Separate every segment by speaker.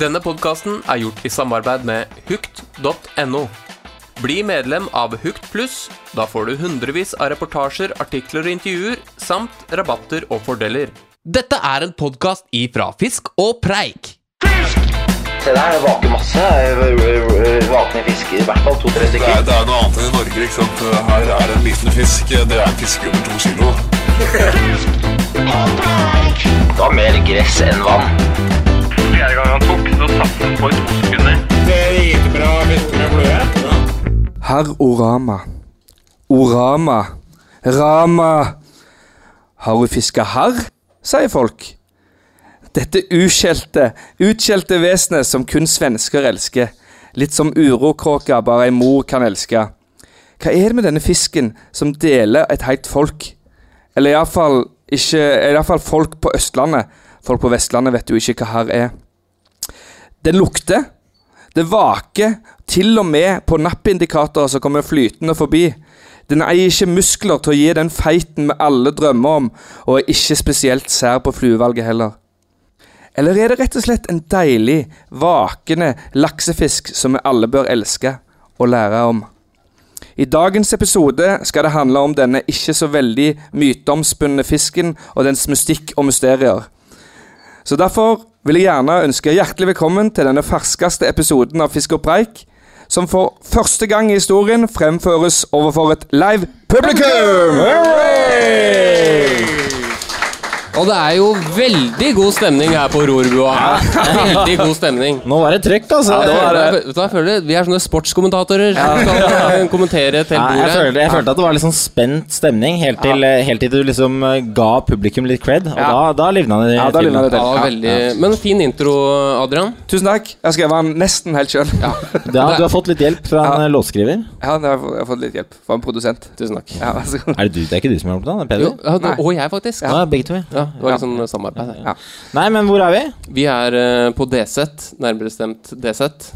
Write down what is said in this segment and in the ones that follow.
Speaker 1: Denne podkasten er gjort i samarbeid med hukt.no. Bli medlem av Hukt pluss. Da får du hundrevis av reportasjer, artikler og intervjuer, samt rabatter og fordeler. Dette er en podkast ifra Fisk og Preik.
Speaker 2: Se der, det vaker masse eh, eh, eh, vakne fisker. I hvert fall to-tre
Speaker 3: Det
Speaker 2: stykker.
Speaker 3: er, det er noe annet enn i Norge, ikke sant? Her er det en liten fisk. Det er en fisk under to kilo.
Speaker 2: Da mer gress enn vann.
Speaker 4: Fjerde gang han tok, så satt han på i to sekunder.
Speaker 5: Herr Orama. Orama. Rama. Har hun fiska harr? sier folk. Dette uskjelte, utskjelte vesenet som kun svensker elsker. Litt som urokråka bare ei mor kan elske. Hva er det med denne fisken som deler et helt folk? Eller iallfall ikke Iallfall folk på Østlandet. Folk på Vestlandet vet jo ikke hva harr er. Den lukter. Det vaker til og med på nappindikatorer som kommer flytende forbi. Den eier ikke muskler til å gi den feiten vi alle drømmer om, og er ikke spesielt sær på fluevalget heller. Eller er det rett og slett en deilig, vakende laksefisk som vi alle bør elske og lære om? I dagens episode skal det handle om denne ikke så veldig myteomspunne fisken og dens mystikk og mysterier. Så derfor vil jeg gjerne ønske hjertelig velkommen til denne ferskeste episoden av Fisk og preik, som for første gang i historien fremføres overfor et live publikum!
Speaker 1: Og det er jo veldig god stemning her på Rorbua. Veldig god stemning.
Speaker 6: Nå var det trygt, altså.
Speaker 1: Jeg
Speaker 6: Ja,
Speaker 1: føler- vet du hva jeg føler? Vi er sånne sportskommentatorer. som kan kommentere til
Speaker 6: jeg,
Speaker 1: bordet.
Speaker 6: følte, jeg følte at det var litt sånn spent stemning helt til, eh, helt til du liksom eh, ga publikum litt cred, og da, da livna det.
Speaker 5: Ja, da
Speaker 6: filmen.
Speaker 5: livna det
Speaker 1: Ja,
Speaker 5: til.
Speaker 1: veldig. Men fin intro, Adrian.
Speaker 5: Tusen takk. Jeg skrev den nesten helt sjøl. Ja.
Speaker 6: Ja, du har fått litt hjelp fra en eh,
Speaker 5: det
Speaker 6: låtskriver.
Speaker 5: har jeg fått- jeg har fått litt hjelp fra en produsent.
Speaker 1: Tusen takk.
Speaker 5: Ja, vær så god.
Speaker 6: Er det du? Det er ikke du som har hjulpet han, det er
Speaker 1: Jo,
Speaker 6: Peder?
Speaker 1: ja, det- og jeg, faktisk.
Speaker 6: Ja, begge to.
Speaker 1: Ja,
Speaker 6: Ja.
Speaker 1: det var litt sånn samarbeid her.
Speaker 6: Nei, men hvor er vi?
Speaker 1: Vi er eh, på DZ, nærmere bestemt DZ.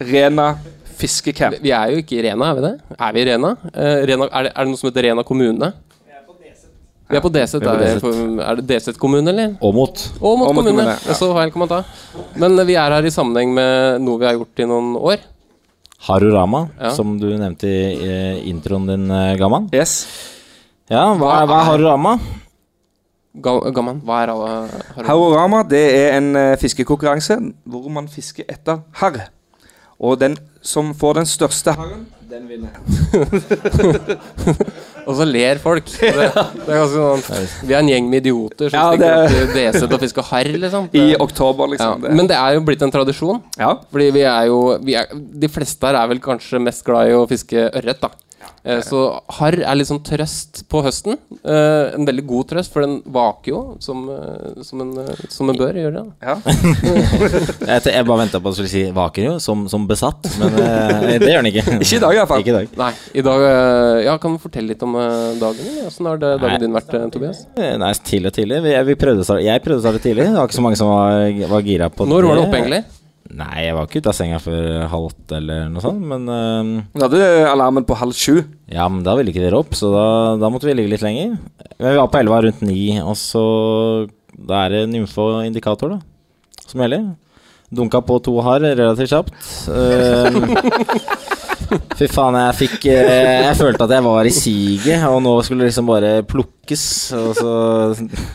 Speaker 5: Rena fiskecamp.
Speaker 1: Vi er jo ikke i Rena, er vi det? Er vi i Rena? Eh, Rena er, det, er det noe som heter Rena kommune? Vi er på DZ.
Speaker 6: på
Speaker 1: Er,
Speaker 6: DZ.
Speaker 1: for- er det DZ kommune, eller?
Speaker 6: Åmot.
Speaker 1: Og mot
Speaker 5: Og mot
Speaker 1: kommune.
Speaker 5: kommune, ja.
Speaker 1: Så feil kan man ta. Men eh, vi er her i sammenheng med noe vi har gjort i noen år.
Speaker 6: Harorama,
Speaker 1: Ja.
Speaker 6: som du nevnte i eh, introen din, eh, Gamman.
Speaker 5: Yes.
Speaker 6: Ja, hva, er- hva er Harorama?
Speaker 1: Ga- Gamman, hva er alle har du-
Speaker 5: Harorama det er en eh, fiskekonkurranse hvor man fisker etter harr. Og den som får den største harren
Speaker 1: Og så ler folk. Det, det er ganske sånn Vi er en gjeng med idioter som
Speaker 5: Ja,
Speaker 1: stikker
Speaker 5: det-
Speaker 1: opp til DZ og fisker harr, liksom.
Speaker 5: i
Speaker 1: Det-
Speaker 5: oktober,
Speaker 1: ja.
Speaker 5: liksom.
Speaker 1: Men det er jo blitt en tradisjon.
Speaker 5: ja.
Speaker 1: Fordi vi er jo vi er, De fleste her er vel kanskje mest glad i å fiske ørret, da. Eh, Så harr er litt sånn trøst på høsten. Eh, en veldig god trøst, for den vaker jo som, eh, som, en, eh, som en bør gjøre. Da.
Speaker 5: Ja.
Speaker 6: Jeg, te- jeg bare venta på at du skulle si vaker jo, som, som besatt, men eh, det gjør den ikke.
Speaker 5: Ikke i dag, i hvert fall.
Speaker 6: Ikke i dag.
Speaker 1: Nei, i dag eh, Ja, kan du fortelle litt om eh, dagen din? Åssen har det,
Speaker 6: Nei.
Speaker 1: dagen din vært, eh, Tobias?
Speaker 6: Eh, Nei, tidlig og tidlig. Vi, vi prøvde å starte, jeg prøvde å starte tidlig. Det var ikke så mange som var, var gira på
Speaker 1: Når var du oppe, egentlig?
Speaker 6: Nei, jeg var ikke ute av senga før halv åtte eller noe sånt. Men eh,
Speaker 5: Vi hadde alarmen på halv sju.
Speaker 6: ja, men da ville ikke dere opp, så da, da måtte vi ligge litt lenger. Men vi var på elva rundt ni, og så Da er det nymfo-indikator, da, som gjelder. Dunka på to har relativt kjapt. Eh, Fy faen, jeg fikk eh, Jeg følte at jeg var i siget, og nå skulle det liksom bare plukkes. Og så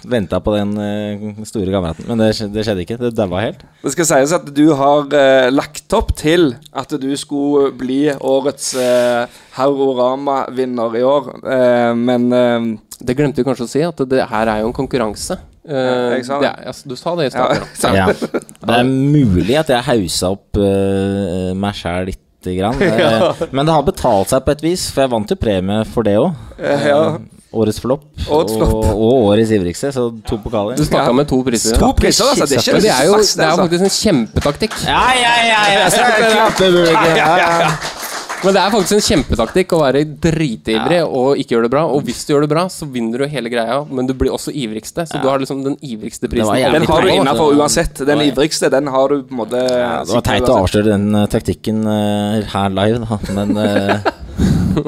Speaker 6: venta på den eh, store kameraten. Men det, skj- det skjedde ikke. Det daua helt.
Speaker 5: Det skal sies at du har eh, lagt opp til at du skulle bli årets eh, Harorama-vinner i år, eh, men eh,
Speaker 1: Det glemte vi kanskje å si, at det her er jo en konkurranse. Eh,
Speaker 5: jeg sa
Speaker 1: det.
Speaker 5: det.
Speaker 1: er- altså, du sa det i stad.
Speaker 5: ja,
Speaker 1: ja.
Speaker 5: så-
Speaker 6: Ja. Det er mulig at jeg haussa opp eh, meg sjæl lite grann. eh, Men det har betalt seg på et vis, for jeg vant jo premie for det òg.
Speaker 5: ja.
Speaker 6: Årets flopp og,
Speaker 5: Årets flopp.
Speaker 6: og årets ivrigste, så to pokaler.
Speaker 1: Du snakka med to priser.
Speaker 5: To priser, altså. Det er ikke
Speaker 1: Men det er jo
Speaker 5: fast,
Speaker 1: det er jo
Speaker 5: altså.
Speaker 1: faktisk en kjempetaktikk.
Speaker 6: Ja, ja, ja! ja, så er det klappe, publikum. Ja, ja, ja.
Speaker 1: Men det er faktisk en kjempetaktikk å være dritivrig og ikke gjøre det bra. Og hvis du gjør det bra, så vinner du hele greia, men du blir også ivrigste. Så du har liksom den ivrigste
Speaker 6: Det
Speaker 1: prisen.
Speaker 6: var jævlig
Speaker 5: Den har du
Speaker 6: teit.
Speaker 5: innafor uansett. Den
Speaker 6: Det var-
Speaker 5: ivrigste, den har du på en måte
Speaker 6: Ja, Det var teit å avsløre den eh, taktikken eh, her live, da, men eh,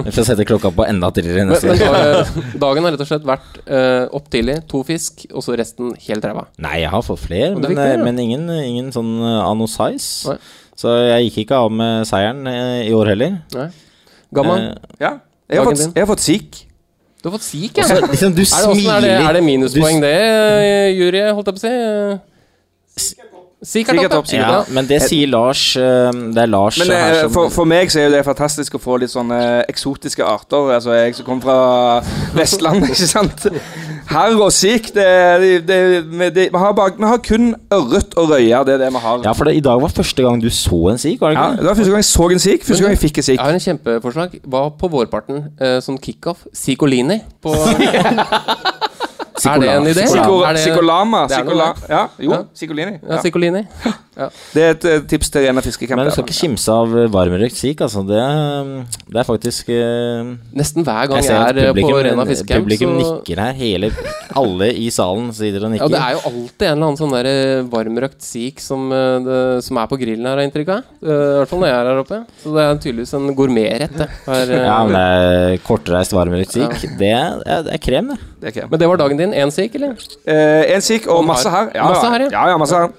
Speaker 6: Vi får sette klokka på enda tidligere
Speaker 1: Men,
Speaker 6: neste
Speaker 1: men
Speaker 6: gang.
Speaker 1: da- dagen har rett og slett vært eh, opp tidlig, to fisk, og så resten helt ræva.
Speaker 6: Nei, jeg har fått flere,
Speaker 1: Og
Speaker 6: men,
Speaker 1: det fikk flere,
Speaker 6: eh,
Speaker 1: ja.
Speaker 6: men ingen, ingen sånn eh, anno size.
Speaker 1: Nei.
Speaker 6: Så jeg gikk ikke av med seieren eh, i år heller.
Speaker 1: Nei. Gamma,
Speaker 6: Eh,
Speaker 5: Ja. Jeg har
Speaker 1: Dagen
Speaker 5: fått,
Speaker 1: din.
Speaker 5: jeg har fått sikk.
Speaker 1: du har fått sik, ja.
Speaker 6: så liksom, du
Speaker 1: Er det, åssen er, det,
Speaker 6: smiler
Speaker 1: er det minuspoeng, det, eh, jury? Holdt jeg på å si. Sik er
Speaker 5: Sik er
Speaker 1: topp,
Speaker 5: topp,
Speaker 1: ja.
Speaker 6: Ja, men det sier Lars eh, Det er Lars
Speaker 5: Men eh,
Speaker 6: her som
Speaker 5: for, for meg så er jo det fantastisk å få litt sånne eh, eksotiske arter. Altså jeg som kommer fra Vestlandet, ikke sant. Harr og sikk, det, det, det, vi- det vi, har bare, vi har kun ørret og røye, det er det vi har.
Speaker 6: Ja, for det, i dag var første gang du så en sik, var det
Speaker 5: Ja,
Speaker 6: ikke?
Speaker 5: det var første gang jeg så en sikk, første gang jeg fikk en
Speaker 1: Jeg
Speaker 5: sikk.
Speaker 1: har en kjempeforslag. Hva på vårparten? Eh, sånn kickoff? Sicolini? På er det en idé?
Speaker 5: Sikko-
Speaker 1: Er det-
Speaker 5: Sikolama.
Speaker 1: det er noe
Speaker 5: Sikola, ja, jo,
Speaker 1: Ja.
Speaker 5: Sikolini.
Speaker 1: Ja,
Speaker 5: Ja.
Speaker 1: Sicolini.
Speaker 5: Det er et eh, tips til rene
Speaker 6: det? Men du skal
Speaker 5: fiskekamper.
Speaker 6: ikke kimse av eh, varmrøkt sik, altså. Det, eh, det er faktisk eh,
Speaker 1: Nesten hver gang
Speaker 6: Jeg
Speaker 1: jeg,
Speaker 6: ser at
Speaker 1: er eh,
Speaker 6: publikum,
Speaker 1: på Rena Fiskehjem,
Speaker 6: publikum nikker her. Hele, alle i salen sitter
Speaker 1: Ja,
Speaker 6: og nikker.
Speaker 1: det er jo alltid en eller annen sånn der eh, varmrøkt sik som, eh, det, som er på grillen her, har jeg inntrykk av. Eh, I hvert fall når jeg er her oppe. Så det er tydeligvis en gourmetrett. det, her, eh.
Speaker 6: Ja, men eh, kortreist varmrøkt sik, det, er- det er krem, det.
Speaker 5: Det er krem.
Speaker 1: Men det var dagen din. Én sik, eller?
Speaker 5: Eh, en sikk og masse harr. Ja,
Speaker 1: Masse harr, ja.
Speaker 5: ja, ja, masse harr.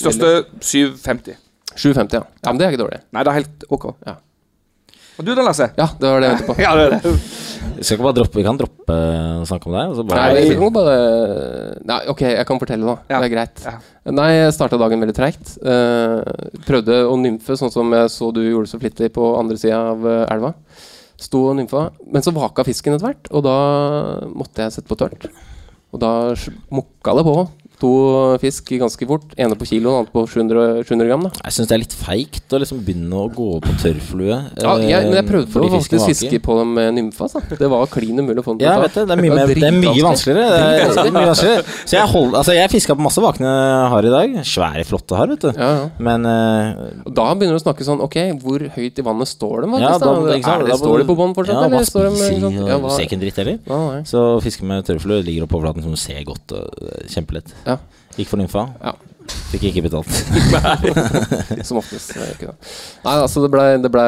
Speaker 5: Største 750.
Speaker 1: 7,50, ja. ja. Men det er ikke dårlig.
Speaker 5: Nei, det er helt OK.
Speaker 1: Ja.
Speaker 5: Og du da, Lasse?
Speaker 1: Ja, det var det jeg ventet på.
Speaker 5: Ja, det er det.
Speaker 6: Vi, skal ikke bare droppe, vi kan droppe eh, å snakke om det. Og så bare,
Speaker 1: Nei, vi kan jo bare Nei, ok, jeg kan fortelle nå.
Speaker 5: Ja.
Speaker 1: Det er greit.
Speaker 5: Ja.
Speaker 1: Nei, jeg starta dagen veldig treigt. Eh, prøvde å nymfe, sånn som jeg så du gjorde så flittig på andre sida av eh, elva. Sto og nymfa. Men så vaka fisken etter hvert, og da måtte jeg sette på tørt. Og da mukka det på. To fisk ganske fort. Ene på kilo, den andre på 700, 700 gram. da
Speaker 6: Jeg syns det er litt feigt å liksom begynne å gå på tørrflue.
Speaker 1: ja, jeg, Men jeg
Speaker 6: eh,
Speaker 1: prøvde
Speaker 6: fordi
Speaker 1: å
Speaker 6: fisken
Speaker 1: faktisk
Speaker 6: vaker.
Speaker 1: fiske på dem med nymfa. Så. Det var klin umulig å få den
Speaker 6: Ja,
Speaker 1: til å
Speaker 6: vet du, det er mye, mer, det er mye vanskeligere. Det er, mye vanskeligere. Så jeg, hold, altså, jeg fiska på masse vakne har i dag. Svære, flotte har, vet du.
Speaker 1: Ja, ja.
Speaker 6: Men eh,
Speaker 1: Og Da begynner du å snakke sånn Ok, hvor høyt i vannet står de?
Speaker 6: ja,
Speaker 1: faktisk,
Speaker 6: da,
Speaker 1: da?
Speaker 6: ikke
Speaker 1: er
Speaker 6: sant, da
Speaker 1: det,
Speaker 6: må
Speaker 1: står de
Speaker 6: du-
Speaker 1: på bånn fortsatt,
Speaker 6: ja,
Speaker 1: eller
Speaker 6: eller?
Speaker 1: står de ikke sant?
Speaker 6: Ja,
Speaker 1: Ja,
Speaker 6: hva
Speaker 1: hva-
Speaker 6: spiser de, og ser ikke en dritt heller.
Speaker 1: Ja, nei.
Speaker 6: Så fiske med tørrflue ligger oppå overflaten som du ser godt. og det er Kjempelett.
Speaker 1: Ja.
Speaker 6: Gikk for nymfa.
Speaker 1: Ja.
Speaker 6: Fikk ikke betalt.
Speaker 1: Som oftest. det er ikke det. Nei, altså, det blei ble,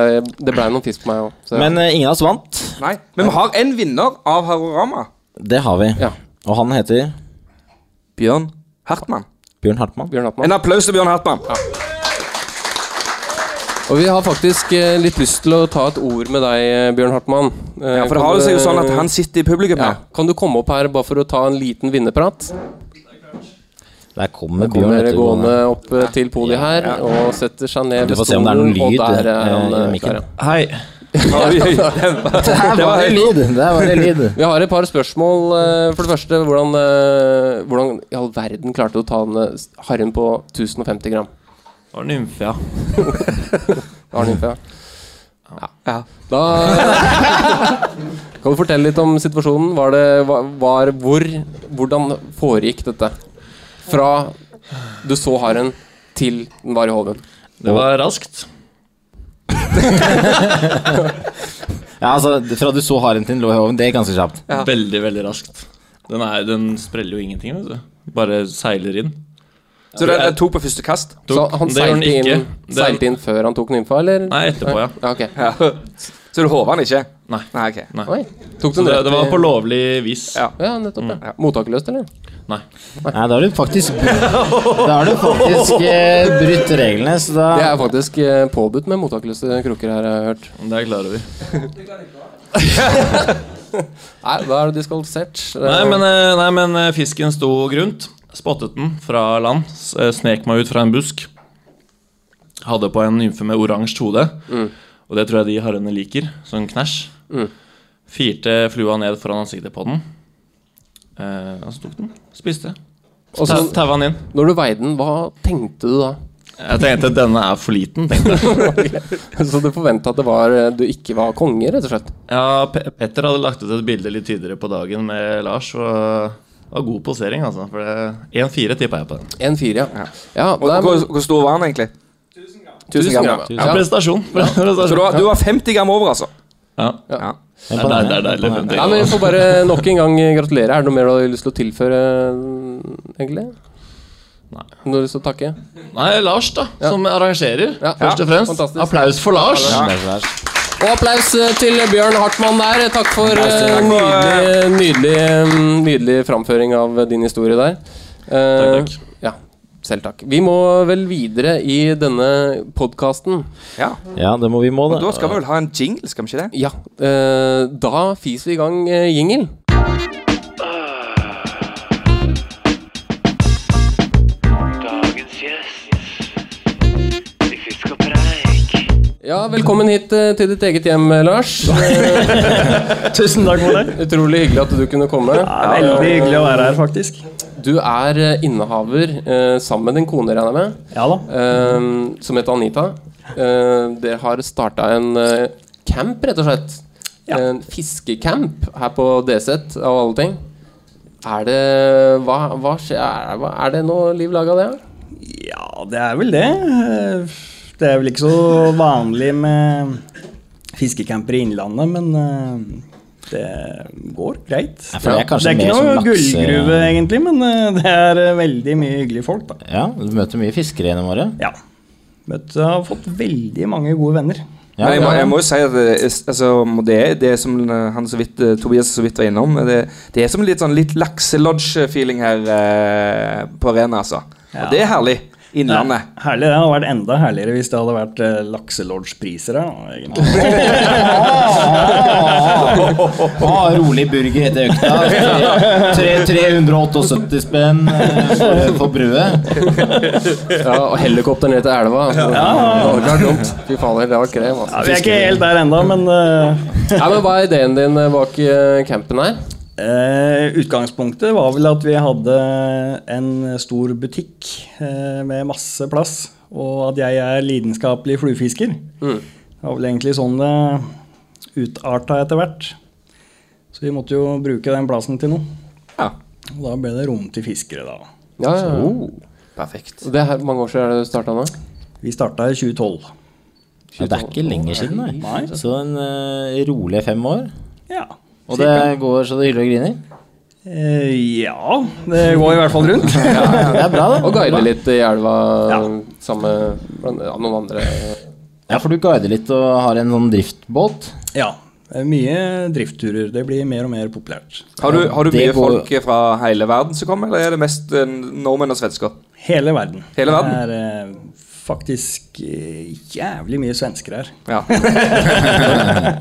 Speaker 1: det ble noen fisk på meg òg.
Speaker 6: Men eh, ingen av oss vant.
Speaker 5: Nei, men vi har en vinner av Harorama.
Speaker 6: Det har vi.
Speaker 1: Ja.
Speaker 6: Og han heter
Speaker 5: Bjørn Hartmann.
Speaker 6: Bjørn Hartmann.
Speaker 1: Bjørn Hartmann.
Speaker 5: En applaus til Bjørn Hartmann.
Speaker 1: Og vi har faktisk eh, litt lyst til å ta et ord med deg, eh, Bjørn Hartmann. Eh,
Speaker 5: Ja, for
Speaker 1: kan
Speaker 5: det har
Speaker 1: du-
Speaker 5: det seg jo sånn at han sitter i publikum
Speaker 1: ja.
Speaker 5: her.
Speaker 1: Kan du komme opp her bare for å ta en liten vinnerprat?
Speaker 6: Der kommer Bjørn.
Speaker 1: Kommer
Speaker 6: vet du,
Speaker 1: gående opp eh, til podiet her og setter seg ned
Speaker 6: Du
Speaker 1: ved
Speaker 6: får se om det er noen
Speaker 1: stolen, og
Speaker 6: lyd
Speaker 1: der
Speaker 6: eh,
Speaker 1: er han
Speaker 6: i
Speaker 1: eh, der,
Speaker 6: mikken.
Speaker 1: ja.
Speaker 7: Hei.
Speaker 6: Der var det lyd! Der var det lyd.
Speaker 1: Vi har et par spørsmål. eh, For det første, hvordan, eh, hvordan i all verden klarte du å ta den eh, harren på 1050 gram?
Speaker 7: Det var nymfe, ja.
Speaker 1: Arne Ymfe, ja. Da Kan du fortelle litt om situasjonen? Var det var, var, hvor, Hvordan foregikk dette? Fra du så harren, til den var i hoven.
Speaker 7: Det var raskt.
Speaker 6: Ja, altså, Fra du så haren til den lå i hoven, det er ganske kjapt.
Speaker 7: Veldig, veldig raskt. Den, er, den spreller jo ingenting, vet du. Bare seiler inn.
Speaker 5: Så det er to på første kast.
Speaker 1: Så
Speaker 7: Tok-
Speaker 1: han
Speaker 7: det gjør den
Speaker 1: seilte inn,
Speaker 7: ikke. Den-
Speaker 1: seilte inn før han tok nymfa, eller?
Speaker 7: Nei, etterpå, ja.
Speaker 1: Ja, ok.
Speaker 5: Ja. Så du håver han ikke?
Speaker 7: Nei.
Speaker 5: Nei, ok.
Speaker 7: Nei.
Speaker 1: Oi. Tok
Speaker 7: Så
Speaker 1: den
Speaker 7: det,
Speaker 1: rett
Speaker 7: det var Mm.
Speaker 1: i-
Speaker 7: på lovlig vis.
Speaker 5: Ja.
Speaker 1: Ja, nettopp. Ja. Mottakerløst, eller?
Speaker 7: Nei.
Speaker 6: Nei, da har du faktisk Da har du faktisk eh, brutt reglene, så da
Speaker 1: Det er faktisk eh, påbudt med mottakeløse krukker her, har jeg hørt.
Speaker 7: Det er jeg klar over.
Speaker 1: Nei, da er du diskvalifisert.
Speaker 7: Nei, men, eh, nei, men eh, fisken sto grunt. Spottet den fra land. s- eh, Snek meg ut fra en busk. Hadde på en nymfe med oransje hode. Og det tror jeg de harrene liker. Sånn knæsj. Firte flua ned foran ansiktet på den. Eh, og så tok den. Spiste.
Speaker 1: Og
Speaker 7: Og så
Speaker 1: så-
Speaker 7: taua den inn.
Speaker 1: Eh, Når du veide den, hva tenkte du da?
Speaker 7: Jeg tenkte at denne er for liten. tenkte jeg
Speaker 1: Så du forventa at det var, eh, du ikke var konge, rett og slett?
Speaker 7: Ja, Pe- Petter hadde lagt ut et bilde litt tydeligere på dagen med Lars. Og det var god posering, altså. For det- 1-4 tippa jeg på den.
Speaker 1: 1-4, ja. ja
Speaker 5: Og
Speaker 1: det er-
Speaker 5: hvor, hvor stor var han egentlig?
Speaker 1: 1000 gram.
Speaker 5: gram,
Speaker 7: Ja,
Speaker 1: Ja. Ja.
Speaker 7: prestasjon.
Speaker 5: Så du
Speaker 7: prestasjon.
Speaker 5: var, du var 50 gram over, altså?
Speaker 7: Ja.
Speaker 5: Ja.
Speaker 7: Det er deilig. Det er deilig. femti.
Speaker 1: ja, men Vi får bare nok en gang eh, gratulere. Er det noe mer du har lyst til å tilføre, eh, egentlig?
Speaker 7: Nei.
Speaker 1: Noe du har lyst til å takke?
Speaker 7: Nei, Lars, da. Som arrangerer,
Speaker 1: Ja.
Speaker 7: først og fremst.
Speaker 1: Fantastisk.
Speaker 7: Applaus for Lars.
Speaker 6: Lars, Lars.
Speaker 1: Og applaus eh, til Bjørn Hartmann der. Takk for eh,
Speaker 5: Takk for,
Speaker 1: nydelig, nydelig, mm, nydelig framføring av eh, din historie der. Eh,
Speaker 7: Takk, takk.
Speaker 1: Ja, selv takk. Vi må vel videre i denne podkasten.
Speaker 5: Ja,
Speaker 6: Ja, det må vi må,
Speaker 5: og da
Speaker 6: det.
Speaker 5: skal vi vel ha en jingle, skal vi ikke det?
Speaker 1: Ja, eh, da fiser vi i gang eh, jingle.
Speaker 4: Dagens gjest. De fisk og preik.
Speaker 1: Ja, velkommen hit eh, til ditt eget hjem, eh, Lars. Eh,
Speaker 8: Tusen takk for det.
Speaker 1: utrolig hyggelig at du kunne komme.
Speaker 8: Veldig hyggelig å være her, faktisk.
Speaker 1: Du er eh, innehaver, eh, sammen med din kone, regner jeg med,
Speaker 8: Ja da.
Speaker 1: eh, som heter Anita. Eh, dere har starta en eh, camp, rett og slett.
Speaker 8: Ja.
Speaker 1: En fiskecamp her på DZ, av alle ting. Er det Hva, hva skjer? Er, hva- er det noe liv laga, det? her?
Speaker 8: Ja, det er vel det. Eh, Det er vel ikke så vanlig med fiskecamper i Innlandet, men eh, det går greit.
Speaker 6: Ja, for det er kanskje
Speaker 8: det er ikke
Speaker 6: mer
Speaker 8: noe
Speaker 6: sånn lakse-
Speaker 8: gullgruve, egentlig, men eh, det er eh, veldig mye hyggelige folk, da.
Speaker 6: Ja, du møter mye fiskere gjennom året.
Speaker 8: Ja. Møtt, jeg har fått veldig mange gode venner.
Speaker 6: Ja,
Speaker 5: Men jeg,
Speaker 6: ja.
Speaker 5: må, jeg må jo si at det, er- altså, det, er, det er som eh, han så vidt, eh, Tobias så vidt var innom Det, det er som litt sånn litt lakselodge-feeling her eh, på arena, altså.
Speaker 8: Ja.
Speaker 5: Og det er herlig. Innlandet.
Speaker 8: Det er Herlig, det hadde vært enda herligere hvis det hadde vært eh, lakselodgepriser her, da, egentlig.
Speaker 6: Ah, rolig burger heter økta. Tre- tre- 378 spenn eh, for- for brødet.
Speaker 1: Ja, Og helikopter ned til elva. altså. Å, det er dumt. Fy fader, det var krem.
Speaker 8: Ja,
Speaker 1: Altså.
Speaker 8: vi er ikke helt der ennå, men eh,
Speaker 1: Ja, men hva er ideen din eh, bak eh, campen her?
Speaker 8: Eh, utgangspunktet var vel at vi hadde en stor butikk eh, med masse plass, og at jeg er lidenskapelig fluefisker.
Speaker 6: Mm.
Speaker 8: Det var vel egentlig sånn det utarta etter hvert. Så vi måtte jo bruke den plassen til noe.
Speaker 5: Ja.
Speaker 8: Og da ble det rom til fiskere, da.
Speaker 1: Ja, Oh. ja.
Speaker 5: Perfekt.
Speaker 1: Det er her, mange år siden er det du starta nå?
Speaker 8: Vi starta i 2012.
Speaker 6: Ja, det er ikke lenger siden, nei. Så en eh, rolig fem år.
Speaker 8: Ja.
Speaker 6: Og det går så det hyler og griner.
Speaker 8: Eh, ja, det går i hvert fall rundt.
Speaker 6: Ja, det er bra, da.
Speaker 1: Og guide litt i elva
Speaker 8: Ja.
Speaker 1: sammen med ja, noen andre.
Speaker 6: Ja, for du guider litt og har en sånn driftbåt.
Speaker 8: ja. det er Mye driftturer. Det blir mer og mer populært.
Speaker 5: Har du, har du
Speaker 6: Det
Speaker 5: mye
Speaker 6: går-
Speaker 5: folk fra hele verden som kommer, eller er det mest eh, nordmenn og svensker?
Speaker 8: Hele verden.
Speaker 5: Hele verden?
Speaker 8: Det er eh, faktisk eh, jævlig mye svensker her.
Speaker 5: Ja.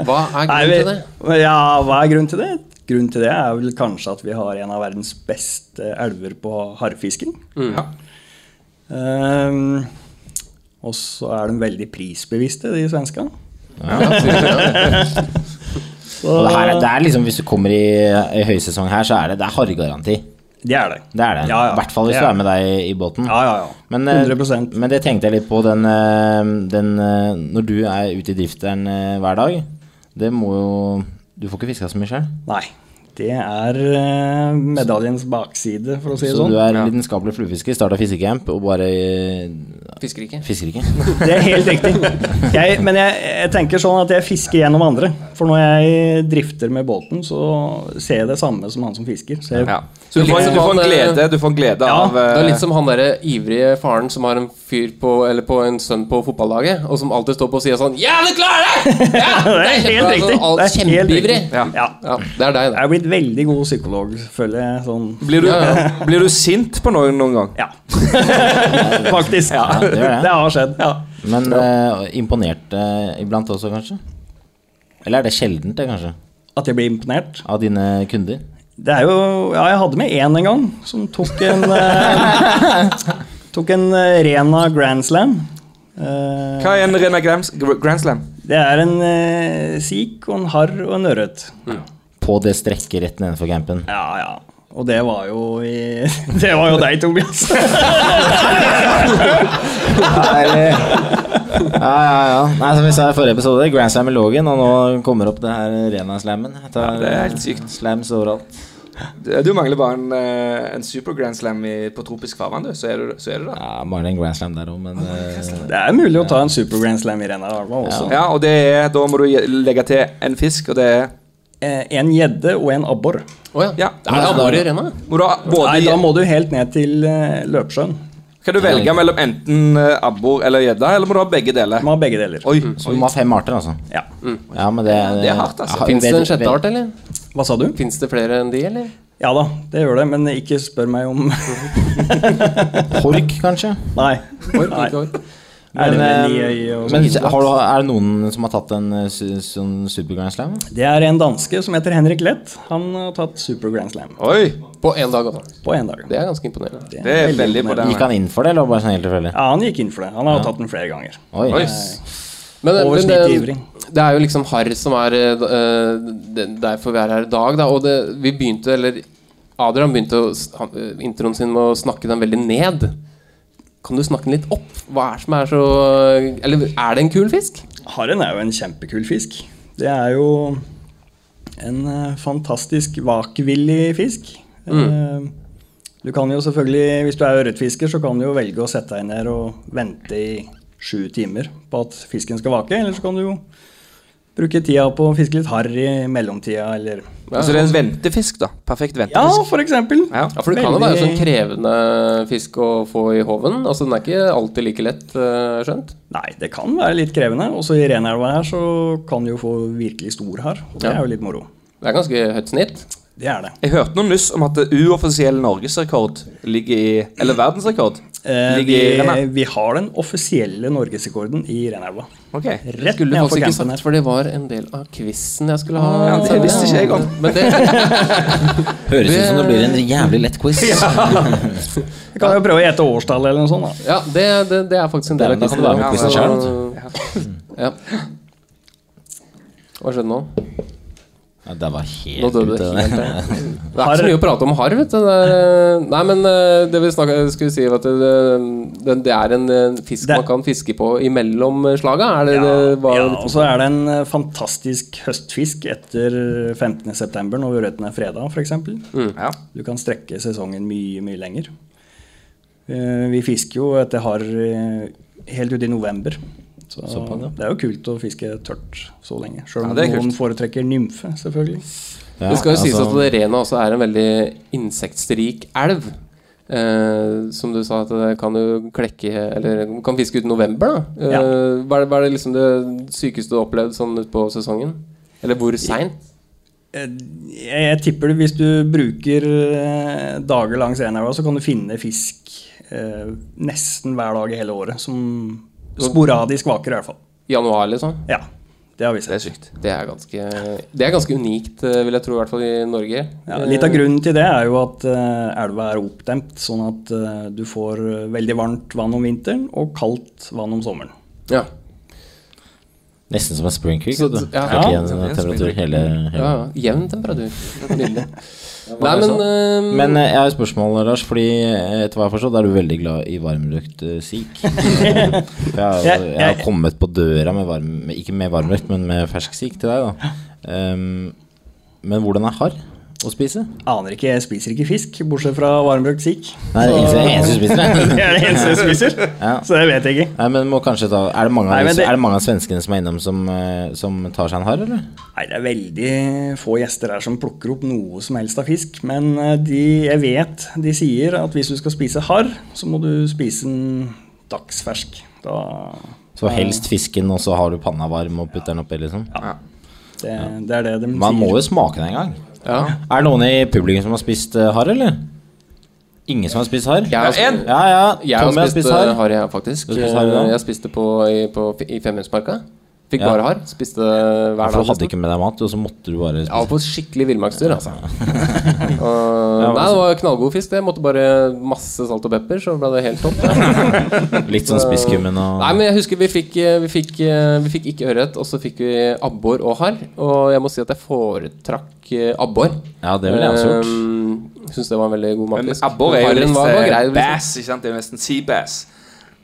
Speaker 1: Hva er grunnen til det?
Speaker 8: Ja, hva er grunnen til det? Grunnen til det er vel kanskje at vi har en av verdens beste elver på harrfisking.
Speaker 5: Ja.
Speaker 8: Ehm, og så er de veldig prisbevisste, de svenskene. Så
Speaker 6: Og det, her, er- det er liksom, Hvis du kommer i, i høysesong her, så er det, det er harregaranti.
Speaker 8: de er det.
Speaker 6: Det er det. I
Speaker 8: Ja, ja.
Speaker 6: hvert fall hvis
Speaker 8: Det
Speaker 6: du
Speaker 8: er
Speaker 6: er med deg i båten.
Speaker 8: Ja, ja, ja.
Speaker 6: Men, eh,
Speaker 8: 100%.
Speaker 6: men det tenkte jeg litt på den, eh, den eh, Når du er ute i drifteren eh, hver dag, det må jo Du får ikke fiska så mye sjøl.
Speaker 8: Nei. Det er eh, medaljens bakside, for å si det
Speaker 6: Så
Speaker 8: sånn.
Speaker 6: du er lidenskapelig fluefisker, starta fiskecamp og bare eh,
Speaker 1: Fisker ikke.
Speaker 6: fisker ikke.
Speaker 8: Det er helt riktig. Jeg, men jeg, jeg tenker sånn at jeg fisker gjennom andre. For når jeg drifter med båten, så ser jeg det samme som han som fisker. Så jeg,
Speaker 5: Ja. Så du
Speaker 1: Det er
Speaker 5: får,
Speaker 1: litt som
Speaker 5: du får en
Speaker 1: han, eh,
Speaker 5: glede, du får en glede
Speaker 8: Ja,
Speaker 5: av eh,
Speaker 1: Det er litt som han derre ivrige faren som har en fyr på Eller på en sønn på fotballaget, og som alltid står på og sier sånn Ja, du klarer det! Ja,
Speaker 8: det er helt
Speaker 1: kjempebra!»
Speaker 8: riktig.
Speaker 1: Sånn, alt-
Speaker 8: Det er helt
Speaker 1: Kjempeivrig.
Speaker 8: riktig.
Speaker 1: Ja.
Speaker 8: Ja.
Speaker 1: ja, det er deg,
Speaker 8: Jeg
Speaker 1: det.
Speaker 8: er blitt veldig god psykolog, føler jeg. Sånn.
Speaker 5: blir, du,
Speaker 1: Ja,
Speaker 5: blir du sint på noen noen gang?
Speaker 8: Ja. Faktisk.
Speaker 6: det
Speaker 8: det,
Speaker 6: gjør det.
Speaker 8: har skjedd.
Speaker 6: Men eh, imponert eh, iblant også, kanskje? Eller er det sjeldent, det, kanskje?
Speaker 8: At jeg blir imponert.
Speaker 6: Av dine kunder?
Speaker 8: Det er jo Ja, jeg hadde med én en gang som tok en eh, Tok en eh, Rena Grand Slam. Eh,
Speaker 5: Hva er en Rena Grams, Gr- Grand Slam?
Speaker 8: det er en eh, sik og en harr og en ørret.
Speaker 6: På det strekket rett nedenfor campen.
Speaker 8: Ja, ja. Og det var jo i Det var jo deg, Tobias.
Speaker 6: Ja, ja, ja. Nei, som vi sa i forrige episode, Grand Slam i Lågen, og nå kommer opp det her Rena-slammen. Jeg tar,
Speaker 5: det er helt
Speaker 6: eh,
Speaker 5: sykt.
Speaker 6: Slams overalt.
Speaker 5: Du mangler bare en, eh, en super Grand Slam i, på tropisk farvann, du. Så er du, så er du der.
Speaker 6: Ja, bare en Grand Slam der òg, men eh,
Speaker 8: Det er mulig å ta en super grand slam i renna i Alva også.
Speaker 5: Ja, og det er, da må du je- legge til en fisk, og det er
Speaker 8: Eh, en gjedde og en abbor.
Speaker 1: Å ja.
Speaker 5: Ja.
Speaker 1: Er det abbor i renna?
Speaker 5: Må du ha både
Speaker 8: Nei, da må du helt ned til eh, løpsjøen.
Speaker 5: Kan du velge mellom enten eh, abbor eller gjedde, eller må du ha begge deler?
Speaker 8: Man har begge deler.
Speaker 5: Oi,
Speaker 6: Så vi må ha fem arter, altså.
Speaker 8: Ja.
Speaker 6: Ja, men det,
Speaker 5: det er hardt, altså.
Speaker 6: Ja,
Speaker 1: Fins det
Speaker 6: vet-
Speaker 1: en sjette art, eller?
Speaker 8: Hva sa du?
Speaker 1: Fins det flere enn de, eller?
Speaker 8: Ja da, det gjør det, men ikke spør meg om Nei.
Speaker 6: vet- Hork, kanskje?
Speaker 1: Ork,
Speaker 8: Nei.
Speaker 1: ikke ork.
Speaker 8: Er det,
Speaker 6: Men,
Speaker 8: vel
Speaker 6: eh,
Speaker 8: ni øy og
Speaker 6: Men har du, er det noen som har tatt en eh, su- sånn Super Grand Slam?
Speaker 8: det er en danske som heter Henrik Lett. Han har tatt Super Grand Slam
Speaker 5: Oi,
Speaker 1: På én dag, altså.
Speaker 8: på én dag.
Speaker 1: Det er ganske imponerende.
Speaker 5: det er veldig
Speaker 6: Gikk
Speaker 5: imponerende.
Speaker 6: han inn for det, eller var det bare sånn helt tilfeldig?
Speaker 8: Ja, han gikk inn for det. Han har tatt den flere ganger.
Speaker 6: Oi.
Speaker 5: Oi.
Speaker 1: Men, eh,
Speaker 8: Over
Speaker 1: men
Speaker 8: snittet
Speaker 1: det,
Speaker 8: ivrig.
Speaker 1: det er jo liksom harr som er eh, det, derfor vi er her i dag, da. Og det, vi begynte, eller Adrian begynte å, s- han, eh, introen sin med å snakke den veldig ned. Kan du snakke den litt opp? Hva er det som er så Eller er det en kul fisk?
Speaker 8: Harren er jo en kjempekul fisk. Det er jo en eh, fantastisk vakvillig fisk. Eh, Du kan jo selvfølgelig, hvis du er ørretfisker, så kan du jo velge å sette deg ned og vente i sju timer på at fisken skal vake, eller så kan du jo bruke tida på å fiske litt harr i mellomtida, eller
Speaker 5: Så Altså, det er en ventefisk, da. Perfekt
Speaker 8: Ja,
Speaker 5: ventefisk.
Speaker 8: for eksempel.
Speaker 5: Ja.
Speaker 1: Ja, For det kan jo være en sånn
Speaker 8: Veldig-
Speaker 1: krevende fisk å få i håven. Altså Den er ikke alltid like lett, eh, skjønt.
Speaker 8: Nei, det kan være litt krevende. Også i Renelva her så kan du jo få virkelig stor harr, og det
Speaker 1: Ja.
Speaker 8: er jo litt moro.
Speaker 1: Det er ganske høyt snitt.
Speaker 8: Det er det.
Speaker 5: Jeg hørte noe nyss om at det uoffisiell norgesrekord ligger i Eller verdensrekord
Speaker 8: Eh,
Speaker 5: ligger i Renna.
Speaker 8: vi, vi har den offisielle norgesrekorden i Renelva.
Speaker 5: Ok.
Speaker 8: Rett
Speaker 1: Skulle
Speaker 8: nedfor
Speaker 1: faktisk ikke
Speaker 8: campen
Speaker 1: sagt, Ah,
Speaker 8: her.
Speaker 1: for det var en del av quizen jeg skulle ha.
Speaker 5: Ja, det visste ikke jeg om.
Speaker 1: Men det,
Speaker 6: Høres ut som det blir en jævlig lett quiz.
Speaker 8: Vi kan jo prøve å gjette årstallet eller noe sånt. da.
Speaker 1: ja, det, det, det er faktisk en del av
Speaker 6: Da kan du være med i quizen
Speaker 1: quizen.
Speaker 6: selv,
Speaker 1: Ja. Hva skjedde nå?
Speaker 6: Ja, det var
Speaker 1: Nå
Speaker 6: helt
Speaker 1: døde
Speaker 6: ute.
Speaker 1: det helt.
Speaker 6: det.
Speaker 1: ja. Det er ikke så mye å prate om harr, vet du. Det er, eh, nei, men eh, det vi snakka skulle si, var at det, det, det er en eh, fisk
Speaker 8: Det-
Speaker 1: man kan fiske på imellom slaga. Er det, det var,
Speaker 8: Ja, og så er det en eh, fantastisk høstfisk etter 15.9. når ørreten er freda, f.eks.
Speaker 5: Ja.
Speaker 8: Du kan strekke sesongen mye, mye lenger. Eh, Vi fisker jo etter harr eh, helt ut i november. Så det er jo kult å fiske tørt så lenge. Sjøl om
Speaker 5: Ja, det er
Speaker 8: noen
Speaker 5: kult.
Speaker 8: foretrekker nymfe, selvfølgelig.
Speaker 6: Ja,
Speaker 1: Det skal jo sies at
Speaker 6: altså,
Speaker 1: det Rena også er en veldig insektrik elv. Eh, som du sa, at det kan jo klekke Eller kan fiske ut i november, da. Eh,
Speaker 8: Ja.
Speaker 1: hva, er det, hva er det liksom det sykeste du har opplevd sånn utpå sesongen? Eller hvor seint?
Speaker 8: Eh, Jeg, jeg tipper det hvis du bruker eh, dager langs Enelva, så kan du finne fisk eh, nesten hver dag i hele året. Som sporadisk vaker, i hvert fall.
Speaker 1: I januar, liksom?
Speaker 8: Ja, det har vi
Speaker 5: Det er
Speaker 8: sett.
Speaker 5: sykt.
Speaker 1: Det er ganske, det er ganske unikt, eh, vil jeg tro, i hvert fall i Norge.
Speaker 8: Ja, litt av grunnen til det er jo at eh, elva er oppdemt, sånn at eh, du får eh, veldig varmt vann om vinteren og kaldt vann om sommeren.
Speaker 1: Ja.
Speaker 6: Nesten som en spring creek.
Speaker 1: Så-
Speaker 6: vet du.
Speaker 1: ja.
Speaker 6: Det er ikke en
Speaker 5: Ja,
Speaker 6: temperatur
Speaker 5: spring creek.
Speaker 6: hele, hele.
Speaker 1: ja, Jevn temperatur. Nydelig. Nei, men, eh,
Speaker 6: Men eh, jeg har et spørsmål, Lars. Fordi eh, etter hva jeg forstår, er du veldig glad i varmrøkt eh, sik. For jeg, har-
Speaker 8: Jeg-
Speaker 6: jeg har
Speaker 8: jeg-
Speaker 6: kommet på døra med varm, med- ikke med varmrøkt, men med fersk sik til deg, da. Ehm, men hvordan er harr å spise?
Speaker 8: Aner ikke, jeg spiser ikke fisk, bortsett fra varmbrøkt sikk.
Speaker 6: Nei, det er eneste- eneste du spiser. det.
Speaker 8: Det er det eneste jeg spiser,
Speaker 6: Ja.
Speaker 8: så det vet jeg ikke.
Speaker 6: Nei, men må kanskje ta Er det mange av,
Speaker 8: Nei, men det-
Speaker 6: er det mange av svenskene som er innom som, eh, som tar seg en harr, eller?
Speaker 8: Nei, det er veldig få gjester her som plukker opp noe som helst av fisk. Men eh, de, jeg vet de sier at hvis du skal spise harr, så må du spise den dagsfersk. Da,
Speaker 6: Så helst fisken, og så har du panna varm og putter den oppi, liksom?
Speaker 8: det, det er det de
Speaker 6: Man må
Speaker 8: sier.
Speaker 6: jo smake den en gang.
Speaker 1: ja.
Speaker 6: Er det noen i publikum som har spist eh, harr, eller? Ingen som har spist harr?
Speaker 1: Jeg har
Speaker 5: En!
Speaker 6: Ja, ja.
Speaker 1: Jeg har
Speaker 6: Tommy har
Speaker 1: spist
Speaker 6: spist
Speaker 1: eh,
Speaker 6: harr.
Speaker 1: harr, jeg, faktisk.
Speaker 6: Du har spist harr, ja.
Speaker 1: Eh, Jeg spiste på, i, på, i Femundsmarka. Fikk
Speaker 6: Ja.
Speaker 1: bare harr. Spiste hver dag.
Speaker 6: For du hadde
Speaker 1: nesten.
Speaker 6: ikke med deg mat, og så måtte du bare
Speaker 1: Jeg var
Speaker 6: spise.
Speaker 1: på skikkelig villmarkstur, altså. Og-
Speaker 6: altså.
Speaker 1: nei, det var knallgod fisk. Det måtte bare masse salt og pepper, så ble det helt topp.
Speaker 6: Litt sånn spisskummen og
Speaker 1: Nei, men jeg husker vi fikk, eh, vi fikk, eh, vi fikk ikke ørret, og så fikk vi abbor og harr. Og jeg må si at jeg foretrakk eh, abbor.
Speaker 6: Ja, det ville jeg også gjort.
Speaker 1: eh, gjort. Syns det var en veldig god
Speaker 5: Men
Speaker 1: matfisk.
Speaker 5: abbor er jo
Speaker 1: Harren
Speaker 5: litt
Speaker 1: var- var grei,
Speaker 5: eh,
Speaker 1: liksom.
Speaker 5: bass, ikke sant? Det er jo nesten sea bass.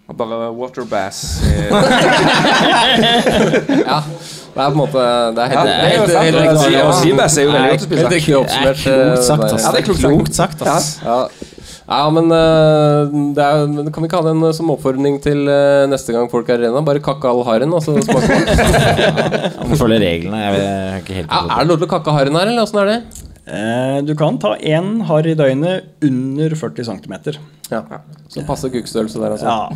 Speaker 5: Og bare water bass. eh,
Speaker 1: Ja, det er på en måte Det er
Speaker 5: Ja,
Speaker 1: helt,
Speaker 5: det er jo
Speaker 1: helt,
Speaker 5: sant.
Speaker 1: helt,
Speaker 5: Og sea- og sea
Speaker 1: riktig.
Speaker 5: bass er jo veldig
Speaker 1: Nei,
Speaker 5: godt å spise.
Speaker 1: Helt riktig oppsummert.
Speaker 6: Klokt sagt,
Speaker 1: eh,
Speaker 6: ass.
Speaker 5: Ja, det er klokt sagt.
Speaker 6: sagt, ass.
Speaker 1: Ja. ja, men eh, det er, men kan vi ikke ha den eh, som oppfordring til eh, neste gang folk er i arena? Bare kakke all haren, og så smaker man.
Speaker 6: Man følger reglene. Jeg vet jeg er ikke helt
Speaker 1: Ja, er det lov til å kakke haren her, eller åssen er det?
Speaker 8: Eh, Du kan ta én harr i døgnet under 40 cm.
Speaker 1: Ja. Så passe kukkstørrelse der, altså.
Speaker 8: Ja,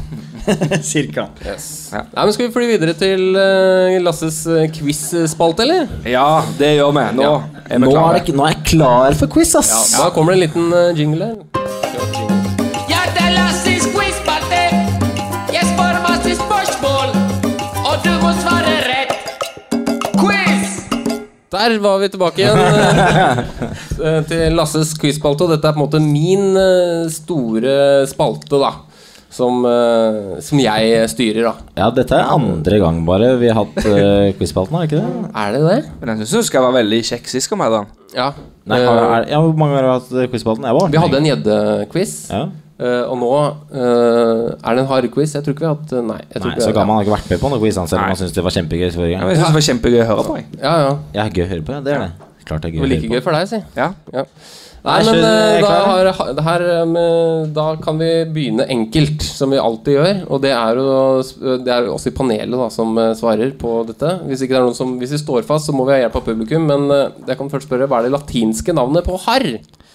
Speaker 8: cirka.
Speaker 1: Yes. Nei, men Skal vi fly videre til eh, Lasses eh, quiz-spalte, eller?
Speaker 5: Ja, det gjør vi. Nå er vi
Speaker 6: Nå er,
Speaker 5: klare.
Speaker 6: jeg, nå er jeg klar for quiz, ass!
Speaker 1: Da kommer det en liten eh, jingle her.
Speaker 9: Ja, det er Lasses quizparty. Jeg spør masse spørsmål, og du må svare rett. Quiz!
Speaker 1: Der var vi tilbake igjen eh, eh, til Lasses quiz-spalte. Og dette er på en måte min eh, store spalte, da. Som, eh, som jeg styrer, da.
Speaker 6: Ja, dette er andre gang bare vi har hatt uh, quiz-spalten, er det ikke det?
Speaker 1: Er det det?
Speaker 5: Men jeg syns du skal være veldig kjekk sist kom her, da.
Speaker 1: Ja.
Speaker 6: Nei,
Speaker 1: Eh,
Speaker 6: har, er, ja, Hvor mange ganger har vi hatt eh, quiz-spalten? Jeg var
Speaker 1: vi hadde en gjeddequiz,
Speaker 6: ja.
Speaker 1: eh, og nå eh, er det en hard quiz. Jeg tror ikke vi har hatt Nei. Jeg tror
Speaker 6: Nei,
Speaker 1: ikke
Speaker 6: så
Speaker 1: vi har-
Speaker 6: gammel har ikke vært med på noe quiz, han, selv om han syntes det var kjempegøy forrige
Speaker 5: Ja,
Speaker 6: gang.
Speaker 5: men Jeg synes det var kjempegøy å høre på. Jeg.
Speaker 1: Ja, ja.
Speaker 6: Jeg er gøy å høre på, ja. Det er det. Klart det er
Speaker 1: Det
Speaker 6: gøy å
Speaker 1: var like
Speaker 6: høre
Speaker 1: gøy for deg, si.
Speaker 5: Ja.
Speaker 1: Ja. Nei,
Speaker 6: Jeg
Speaker 1: men
Speaker 6: skjønner,
Speaker 1: eh,
Speaker 6: jeg er
Speaker 1: da, har,
Speaker 6: klar.
Speaker 1: det her, eh, med- da kan vi begynne enkelt, som vi alltid gjør. Og det er jo det er jo oss i panelet da, som eh, svarer på dette. Hvis, ikke det er noen som, hvis vi står fast, så må vi ha hjelp av publikum. Men eh, jeg kan først spørre, hva er det latinske navnet på harr?
Speaker 6: på.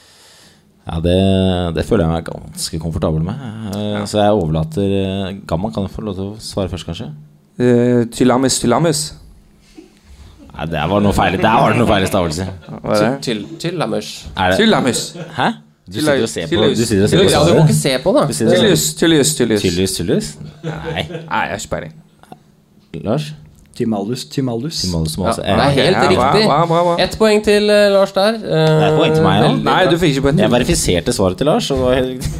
Speaker 6: Ja, det, det føler jeg meg ganske komfortabel med. Eh, Så jeg overlater uh, Gamma kan få lov til å svare først, kanskje?
Speaker 5: Eh, Tylamis, tylamis.
Speaker 6: Nei, der var det noe feil, der var det noe feil i stavelse.
Speaker 5: Hva er det?
Speaker 1: Til, til Lammers.
Speaker 6: Er det
Speaker 5: Tylamus.
Speaker 6: Hæ? Du sitter og ser på Du sitter og ser på
Speaker 1: Ja, du må ikke
Speaker 6: svaret.
Speaker 1: se på, da.
Speaker 6: Du sitter og ser-
Speaker 5: Tylius, tylius, tylius.
Speaker 6: Tyllus, tyllus? Nei.
Speaker 5: Nei, jeg har ikke peiling.
Speaker 6: Lars?
Speaker 8: Timalus, timalus.
Speaker 6: Malus,
Speaker 1: Ja,
Speaker 6: malus.
Speaker 1: det er helt
Speaker 5: Ja, bra,
Speaker 1: riktig.
Speaker 5: bra, bra, bra.
Speaker 1: Ett poeng til eh, Lars der. Eh,
Speaker 6: Det er et poeng til meg, ja.
Speaker 1: veldig
Speaker 5: Nei,
Speaker 1: bra.
Speaker 5: du fikk ikke på en
Speaker 6: Jeg verifiserte svaret til Lars. Og det var helt...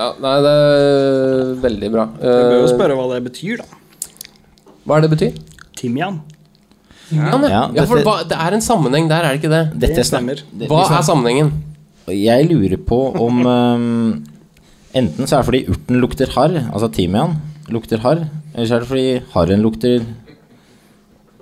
Speaker 1: ja, Nei, det er veldig bra.
Speaker 8: Du bør jo
Speaker 1: Eh,
Speaker 8: spørre hva det betyr, da.
Speaker 1: hva er det betyr?
Speaker 8: Timian.
Speaker 1: Ja, men, ja,
Speaker 6: Ja,
Speaker 1: for
Speaker 6: dette- liksom-
Speaker 1: hva, det er en sammenheng der, er det ikke det?
Speaker 6: Dette
Speaker 8: Det
Speaker 6: stemmer.
Speaker 8: stemmer.
Speaker 1: Hva er sammenhengen?
Speaker 6: Jeg lurer på om ehm, Enten så er det fordi urten lukter harr, altså timian, lukter harr. Eller så er det fordi harren lukter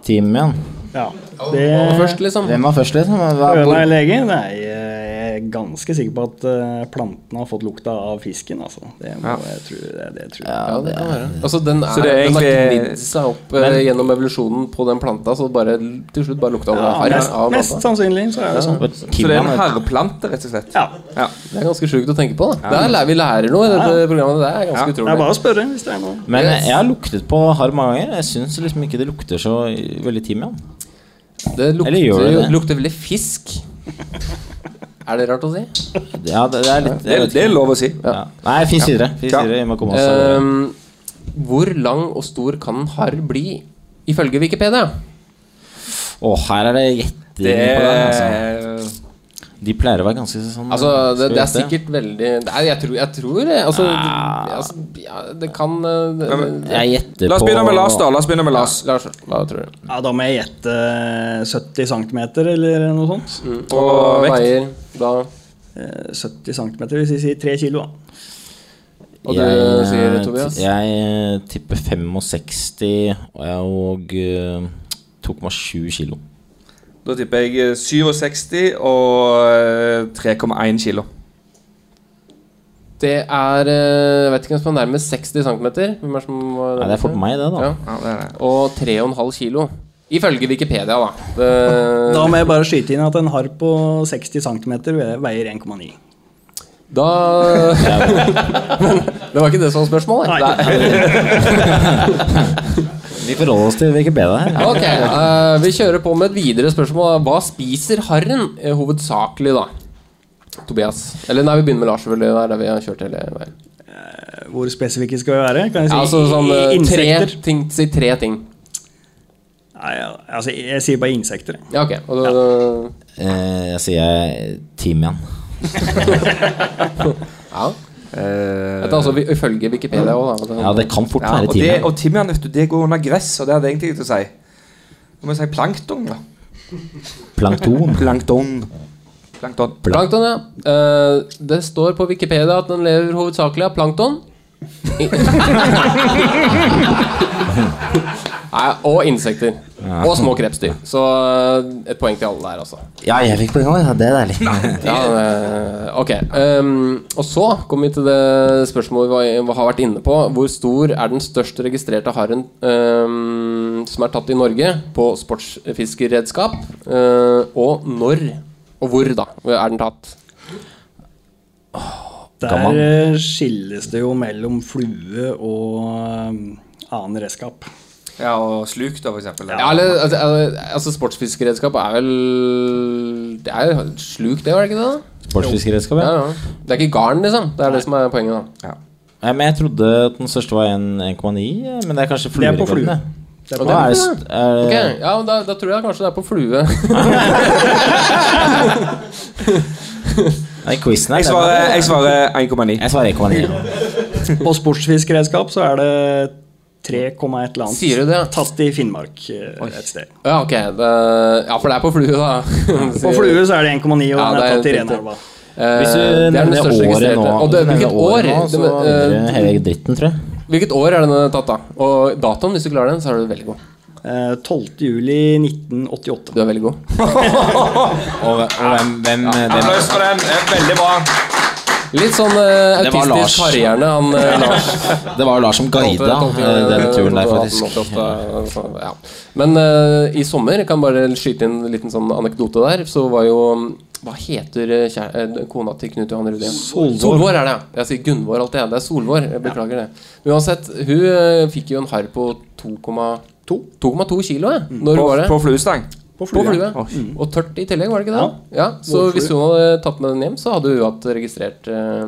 Speaker 6: timian.
Speaker 8: Ja.
Speaker 1: Hva
Speaker 8: Det
Speaker 1: Først, liksom.
Speaker 6: Hvem var først, liksom? Hva,
Speaker 8: Høna
Speaker 6: hvor,
Speaker 8: er lege? Nei, jeg er ganske sikker på at eh, plantene har fått lukta av fisken, altså. Det må jeg tro. Det, det tror jeg.
Speaker 1: Ja, det kan være. Altså, den, er,
Speaker 5: Så det er
Speaker 1: den har
Speaker 5: egentlig-
Speaker 1: gnidd seg opp eh, gjennom evolusjonen på den planta, så bare, til slutt bare lukta det harr
Speaker 8: mest,
Speaker 1: av
Speaker 8: mest
Speaker 1: planta.
Speaker 8: sannsynlig så er det sånn.
Speaker 6: hvor
Speaker 5: Så det er
Speaker 6: timian
Speaker 5: en
Speaker 6: er-
Speaker 5: herreplante, rett og slett.
Speaker 8: Ja.
Speaker 1: Det er ganske sjukt å tenke på. da Der lærer Vi lærer noe i dette programmet. Det er ganske
Speaker 8: Det er
Speaker 1: utrolig.
Speaker 8: bare å spørre hvis det er noe.
Speaker 6: Men
Speaker 1: Yes.
Speaker 6: jeg har luktet på harr mange ganger. Jeg syns liksom ikke det lukter så veldig timian.
Speaker 1: Det
Speaker 6: Eller
Speaker 1: lukter,
Speaker 6: gjør det
Speaker 1: jo-
Speaker 6: det?
Speaker 1: lukter veldig fisk. Er det rart å si?
Speaker 6: Ja, det, det er litt
Speaker 5: Det,
Speaker 6: jeg vet
Speaker 5: det er
Speaker 6: ikke.
Speaker 5: lov å si.
Speaker 6: ja. Nei, fins videre. Fins
Speaker 5: Ja. Um,
Speaker 6: videre. Vi må komme oss over.
Speaker 1: Ehm, hvor lang og stor kan en harr bli, ifølge Wikipedia?
Speaker 6: Å, her er det gjetting
Speaker 5: Det
Speaker 6: på den. Altså.
Speaker 5: er
Speaker 6: De pleier å være ganske sånn
Speaker 1: Altså, det,
Speaker 6: skal
Speaker 1: det er
Speaker 6: vi gjette?
Speaker 1: sikkert veldig Nei, jeg tror, jeg tror det. Altså, det, altså, ja, det kan eh, det,
Speaker 6: Jeg gjetter
Speaker 5: La oss
Speaker 6: på
Speaker 5: begynne med Lars, da. La oss begynne med Lars.
Speaker 1: Lars, hva tror du?
Speaker 8: Ja, da må jeg gjette 70 cm eller noe sånt.
Speaker 1: Og
Speaker 5: vekt.
Speaker 1: veier da
Speaker 8: Eh, 70 cm hvis vi sier 3 kilo, da.
Speaker 1: Og du sier Tobias?
Speaker 6: Jeg tipper 65 og, jeg- og eh, 2,7 kilo.
Speaker 5: Da tipper jeg eh, 67 og eh, 3,1 kilo.
Speaker 1: Det er eh, Jeg vet ikke hvem som er nærmest 60 cm. Hvem er som var
Speaker 6: Nei, det er fort meg, det, da.
Speaker 1: Ja.
Speaker 5: Ja, det er det.
Speaker 1: Og 3,5 kilo. Ifølge Wikipedia, da. Det,
Speaker 8: Da må jeg bare skyte inn at en harr på 60 cm veier 1,9.
Speaker 1: da Men det var ikke det som var spørsmålet.
Speaker 8: Nei.
Speaker 1: Det er-
Speaker 6: Vi forholder oss til Wikipedia her.
Speaker 1: Ok, eh, vi kjører på med et videre spørsmål. Hva spiser harren eh, hovedsakelig, da? Tobias. Eller nei, vi begynner med Lars, selvfølgelig. Det er det vi har kjørt hele veien.
Speaker 8: Hvor spesifikke skal vi være? Kan jeg si
Speaker 1: Ja, altså sånn eh, tre
Speaker 8: insekter?
Speaker 1: ting. Si tre ting.
Speaker 8: Nei, ja, altså, jeg sier bare insekter.
Speaker 1: Ja, ok. Og da,
Speaker 6: Eh, jeg sier timian.
Speaker 1: ja. Dette er altså vi- ifølge Wikipedia òg, da.
Speaker 6: Ja, det kan fort
Speaker 5: Ja,
Speaker 6: være
Speaker 5: og, det,
Speaker 6: timian.
Speaker 5: og timian, vet du, det går under gress, og det hadde jeg egentlig ikke til å si. Du må si plankton, da.
Speaker 6: Plankton.
Speaker 5: Plankton. Plankton.
Speaker 1: Plankton, ja. Eh, det står på Wikipedia at den lever hovedsakelig av plankton. I- Nei, og insekter. Og små krepsdyr. Så eh, et poeng til alle der, altså.
Speaker 6: Ja, jeg fikk poeng òg. Ja, det er deilig.
Speaker 1: Ja, eh, ok. Ehm, og så kom vi til det spørsmålet vi var- har vært inne på. Hvor stor er den størst registrerte harren ehm, som er tatt i Norge på sportsfiskeredskap? Eh, og når Og hvor, da? Er den tatt?
Speaker 8: Der eh, skilles det jo mellom flue og eh, annen redskap.
Speaker 10: Ja, og sluk, da, for eksempel.
Speaker 1: Ja, eller altså, altså sportsfiskeredskap er vel Det er jo sluk, det, var det ikke det? da?
Speaker 6: Sportsfiskeredskap,
Speaker 1: Ja,
Speaker 6: ja.
Speaker 1: ja. Det er ikke garn, liksom. Det er det som er poenget. da
Speaker 6: Nei, men jeg trodde at den største var en 1,9, men det er kanskje
Speaker 8: er på flue.
Speaker 6: fluerekorden, det.
Speaker 8: Det er
Speaker 6: Og
Speaker 8: på
Speaker 6: da er det
Speaker 1: flue.
Speaker 6: st- er,
Speaker 1: Ok, ja, men da, da tror jeg kanskje det er på flue.
Speaker 6: Nei, quizen her
Speaker 5: Jeg svarer, Eh, jeg svarer 1,9.
Speaker 6: Jeg svarer 1,9.
Speaker 8: På sportsfiskeredskap så er det 3, et eller annet.
Speaker 1: Sier du det? ja?
Speaker 8: Tatt i Finnmark eh, et sted.
Speaker 1: Ja, ok. Det, ja, for det er på flue, da.
Speaker 8: På flue så er det 1,9, og den
Speaker 1: Ja, det
Speaker 8: er
Speaker 1: er
Speaker 8: tatt i
Speaker 1: riktig.
Speaker 8: Renelva.
Speaker 6: Hvis du
Speaker 1: Eh, det er den
Speaker 6: nevner
Speaker 1: største
Speaker 6: året
Speaker 1: registrerte.
Speaker 6: nå,
Speaker 1: Og det,
Speaker 6: hvis du nevner
Speaker 1: hvilket år?
Speaker 6: året nå, så
Speaker 1: det,
Speaker 6: vinner
Speaker 1: eh,
Speaker 6: du hele dritten, tror jeg.
Speaker 1: hvilket år er den tatt, da? Og datoen, hvis du klarer den, så er du veldig god.
Speaker 8: Eh, 12. juli 1988.
Speaker 1: Du er veldig god.
Speaker 6: Og, og hvem, hvem, hvem
Speaker 10: Applaus for den. Det er veldig bra.
Speaker 1: Litt sånn eh,
Speaker 6: Det var Lars.
Speaker 1: autistisk harrehjerne, han eh, Lars.
Speaker 6: Det var jo Lars som guida eh, den turen der, faktisk.
Speaker 1: Ja. Men eh, i sommer, jeg kan bare skyte inn en liten sånn anekdote der, så var jo Hva heter eh, kjære, eh, kona til Knut Johan Rudi? Solvår. er det, ja. Jeg sier Gunvor alltid, jeg. Det er Solvår. Jeg beklager det. Men uansett, hun eh, fikk jo en harr på 2,2 2,2 kilo, jeg. Når var
Speaker 5: På,
Speaker 1: det?
Speaker 5: på fluestang?
Speaker 1: På flue. Og tørt i tillegg, var det ikke det? Ja, Så hvis hun hadde tatt med den hjem, så hadde hun hatt registrert eh,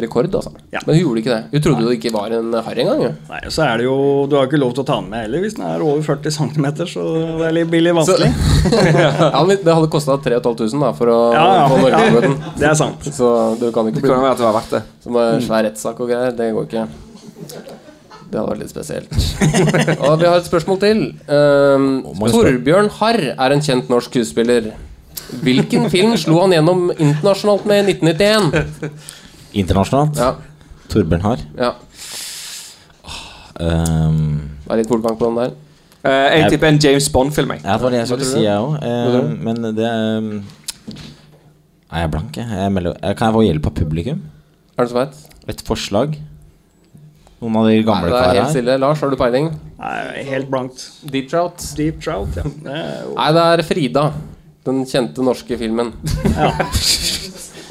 Speaker 1: rekord. Altså.
Speaker 8: Ja.
Speaker 1: Men hun gjorde ikke det. Hun trodde det ikke var en harry engang. Ja.
Speaker 8: Nei, og så er det jo Du har ikke lov til å ta den med heller hvis den er over 40 cm, så det er litt billig vanskelig.
Speaker 1: ja, men det hadde kosta 3500 da, for å
Speaker 8: Ja, ja.
Speaker 1: få Norge på den.
Speaker 8: Det er sant.
Speaker 1: Så du kan ikke
Speaker 5: Det
Speaker 1: bli
Speaker 5: kan jo være at det var verdt det.
Speaker 1: som en
Speaker 8: Mm.
Speaker 1: svær rettssak og greier. Det går ikke. Det hadde vært litt spesielt. og vi har et spørsmål til. Ehm,
Speaker 6: mange spør-
Speaker 1: Torbjørn Harr er en kjent norsk skuespiller. Hvilken film slo han gjennom internasjonalt med i 1991?
Speaker 6: Internasjonalt.
Speaker 1: Ja,
Speaker 6: Torbjørn Haar.
Speaker 1: ja.
Speaker 6: Ehm,
Speaker 1: Det er litt polkang på den der.
Speaker 5: Eh, jeg tipper en James Bond-film. jeg.
Speaker 6: ja, det var det jeg skulle
Speaker 1: tror
Speaker 6: si,
Speaker 1: du?
Speaker 6: jeg òg.
Speaker 1: tror du?
Speaker 6: men det ehm, Nei, jeg er blank, jeg. jeg melder, eh, kan jeg få hjelp av publikum?
Speaker 1: Er det så feit?
Speaker 6: Et forslag? Noen av de
Speaker 1: Nei,
Speaker 6: gamle
Speaker 1: det er
Speaker 6: karene
Speaker 1: helt
Speaker 6: her?
Speaker 1: stille. Lars, har du peiling?
Speaker 8: Nei, helt blankt.
Speaker 1: Deep Trout?
Speaker 8: Deep trout, ja. Det er jo-
Speaker 1: Nei, det er Frida. Den kjente norske filmen.
Speaker 8: Ja,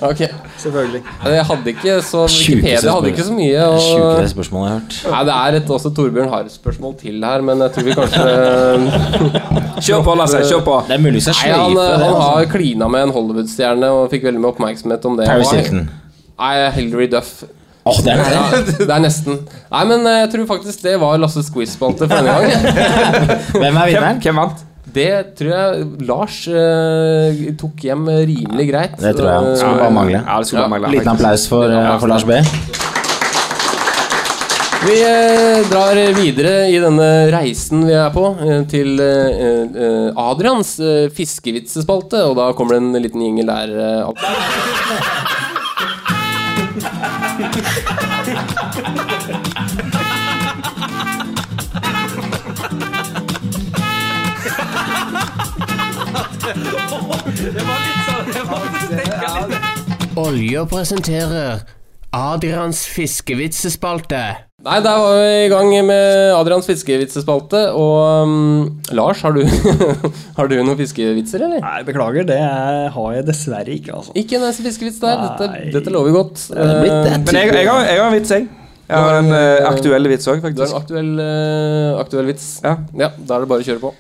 Speaker 1: Ok
Speaker 8: selvfølgelig.
Speaker 1: Nei, Jeg hadde ikke så
Speaker 6: Sjukeste
Speaker 1: Wikipedia hadde ikke så mye.
Speaker 6: Det sjukeste
Speaker 1: Og,
Speaker 6: spørsmålet jeg har hørt.
Speaker 1: nei, det er et også Torbjørn har et spørsmål til her, men jeg tror vi kanskje
Speaker 5: Kjør på, Lasse. Kjør på.
Speaker 6: Det er mulig jeg
Speaker 1: Nei,
Speaker 6: sløyfer
Speaker 1: han, eh,
Speaker 6: det.
Speaker 1: han
Speaker 6: altså.
Speaker 1: har klina med en Hollywood-stjerne og fikk veldig mye oppmerksomhet om det.
Speaker 6: Paris
Speaker 1: Og-
Speaker 6: Hilton.
Speaker 1: Nei, Hilary Duff.
Speaker 6: Åh, det er
Speaker 1: Ja, det er nesten. Nei, men eh, jeg tror faktisk det var Lasses quiz-spalte for denne gang.
Speaker 6: Hvem er vinneren?
Speaker 5: Hvem vant?
Speaker 1: Det tror jeg Lars eh, tok hjem rimelig greit.
Speaker 6: Det tror jeg. Skulle
Speaker 1: Eh,
Speaker 6: bare mangle.
Speaker 5: Ja, det skulle bare mangle.
Speaker 6: Liten applaus for, eh, for Lars B.
Speaker 1: Vi eh, drar videre i denne reisen vi er på, eh, til eh, eh, Adrians eh, fiskevitsespalte. Og da kommer det en liten jingle der. Eh, opp.
Speaker 9: Olje presenterer Adrians fiskevitsespalte.
Speaker 1: Nei, der var vi i gang med Adrians fiskevitsespalte. Og mm, Lars, har du, har du noen fiskevitser, eller?
Speaker 8: Nei, beklager, det er, har jeg dessverre ikke, altså.
Speaker 1: Ikke en eneste fiskevits der. Dette,
Speaker 8: Nei.
Speaker 1: dette lover godt. Eh,
Speaker 5: Men jeg, jeg, har, jeg har en vits, jeg. Jeg har en eh, aktuell vits òg,
Speaker 1: Du har en
Speaker 5: faktisk.
Speaker 1: aktuell, eh, aktuell vits.
Speaker 5: Ja.
Speaker 1: Ja, Da er det bare å kjøre på.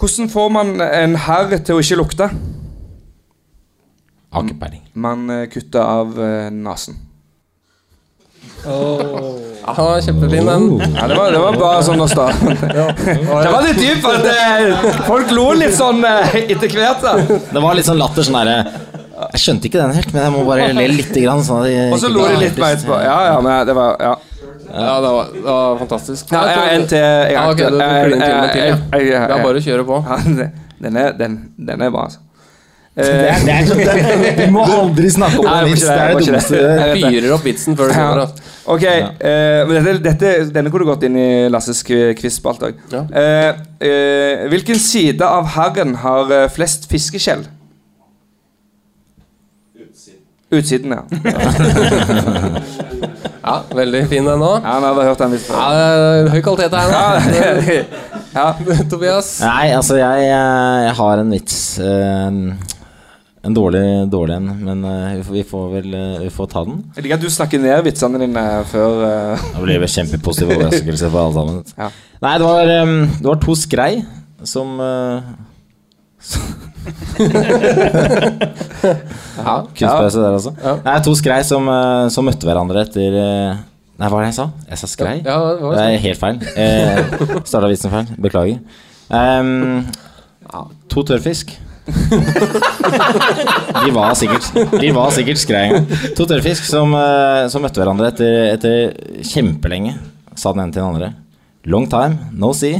Speaker 5: Hvordan får man en herr til å ikke lukte?
Speaker 6: Har ikke peiling.
Speaker 5: Man eh, kutter av eh, nesen.
Speaker 1: Ja, Kjempefin den.
Speaker 5: Ja, det, var, det var bare sånn å starte. Det var litt dypt, for at eh, folk lo litt sånn eh, etter hvert. da.
Speaker 6: Det var litt sånn latter sånn derre Jeg skjønte ikke den helt, men jeg må bare le litt. Grann, sånn at jeg
Speaker 5: Og så
Speaker 6: ikke
Speaker 5: lo de
Speaker 6: blir
Speaker 5: litt mer
Speaker 6: trist.
Speaker 5: etterpå. Ja, ja, men det var Ja.
Speaker 1: Ja, det var, det var fantastisk.
Speaker 5: Oh. Ja, jeg har en til. Jeg
Speaker 1: Ja,
Speaker 5: har
Speaker 1: ok, du
Speaker 5: aktuell.
Speaker 1: du
Speaker 5: Jeg-
Speaker 1: kliner til med til, ja.
Speaker 5: jeg- jeg- jeg-
Speaker 1: Det er bare å kjøre på.
Speaker 5: Ja, det- den, er, den, den er bra, altså.
Speaker 6: Det er- det er sånn- Du må aldri snakke om
Speaker 5: Nei, jeg må ikke
Speaker 6: det.
Speaker 5: det,
Speaker 6: Det er
Speaker 5: jeg må
Speaker 6: det
Speaker 5: ikke det.
Speaker 6: dummeste du gjør.
Speaker 5: Jeg vet det.
Speaker 1: Fyrer opp vitsen før du
Speaker 5: Ja.
Speaker 1: kommer. Altså.
Speaker 5: Ok, eh, men dette, dette, denne kunne gått inn i Lasses kvi- quiz-spalt òg.
Speaker 1: Ja.
Speaker 5: Eh, eh, hvilken side av herren har eh, flest fiskeskjell? Utsiden. ja.
Speaker 1: Ja, veldig fin den nå.
Speaker 5: Ja, men jeg har hørt den litt
Speaker 1: Ja,
Speaker 5: før.
Speaker 1: det er Eh, høy kvalitet her nå.
Speaker 5: Ja.
Speaker 1: Tobias.
Speaker 6: Nei, altså, jeg, jeg har eh, en vits. eh, En dårlig, dårlig en, men eh, vi, får, vi får vel eh, vi får ta den.
Speaker 5: Jeg liker at du snakker ned vitsene dine før eh.
Speaker 6: Det blir vel kjempepositiv overraskelse for alle sammen.
Speaker 5: Ja.
Speaker 6: Nei, det var, em, det var to skrei som eh, ja, Kunstpause der, altså. Nei, to skrei som, eh, som møtte hverandre etter eh, Nei, hva var det jeg sa? Jeg sa skrei?
Speaker 1: Ja, ja, det var det
Speaker 6: det
Speaker 1: jeg
Speaker 6: er helt feil. Eh, Starta vitsen feil. Beklager. Em, to tørrfisk. De var sikkert, de var sikkert skrei en gang. To tørrfisk som, eh, som møtte hverandre etter, etter kjempelenge, sa den ene til den andre. Long time, no see.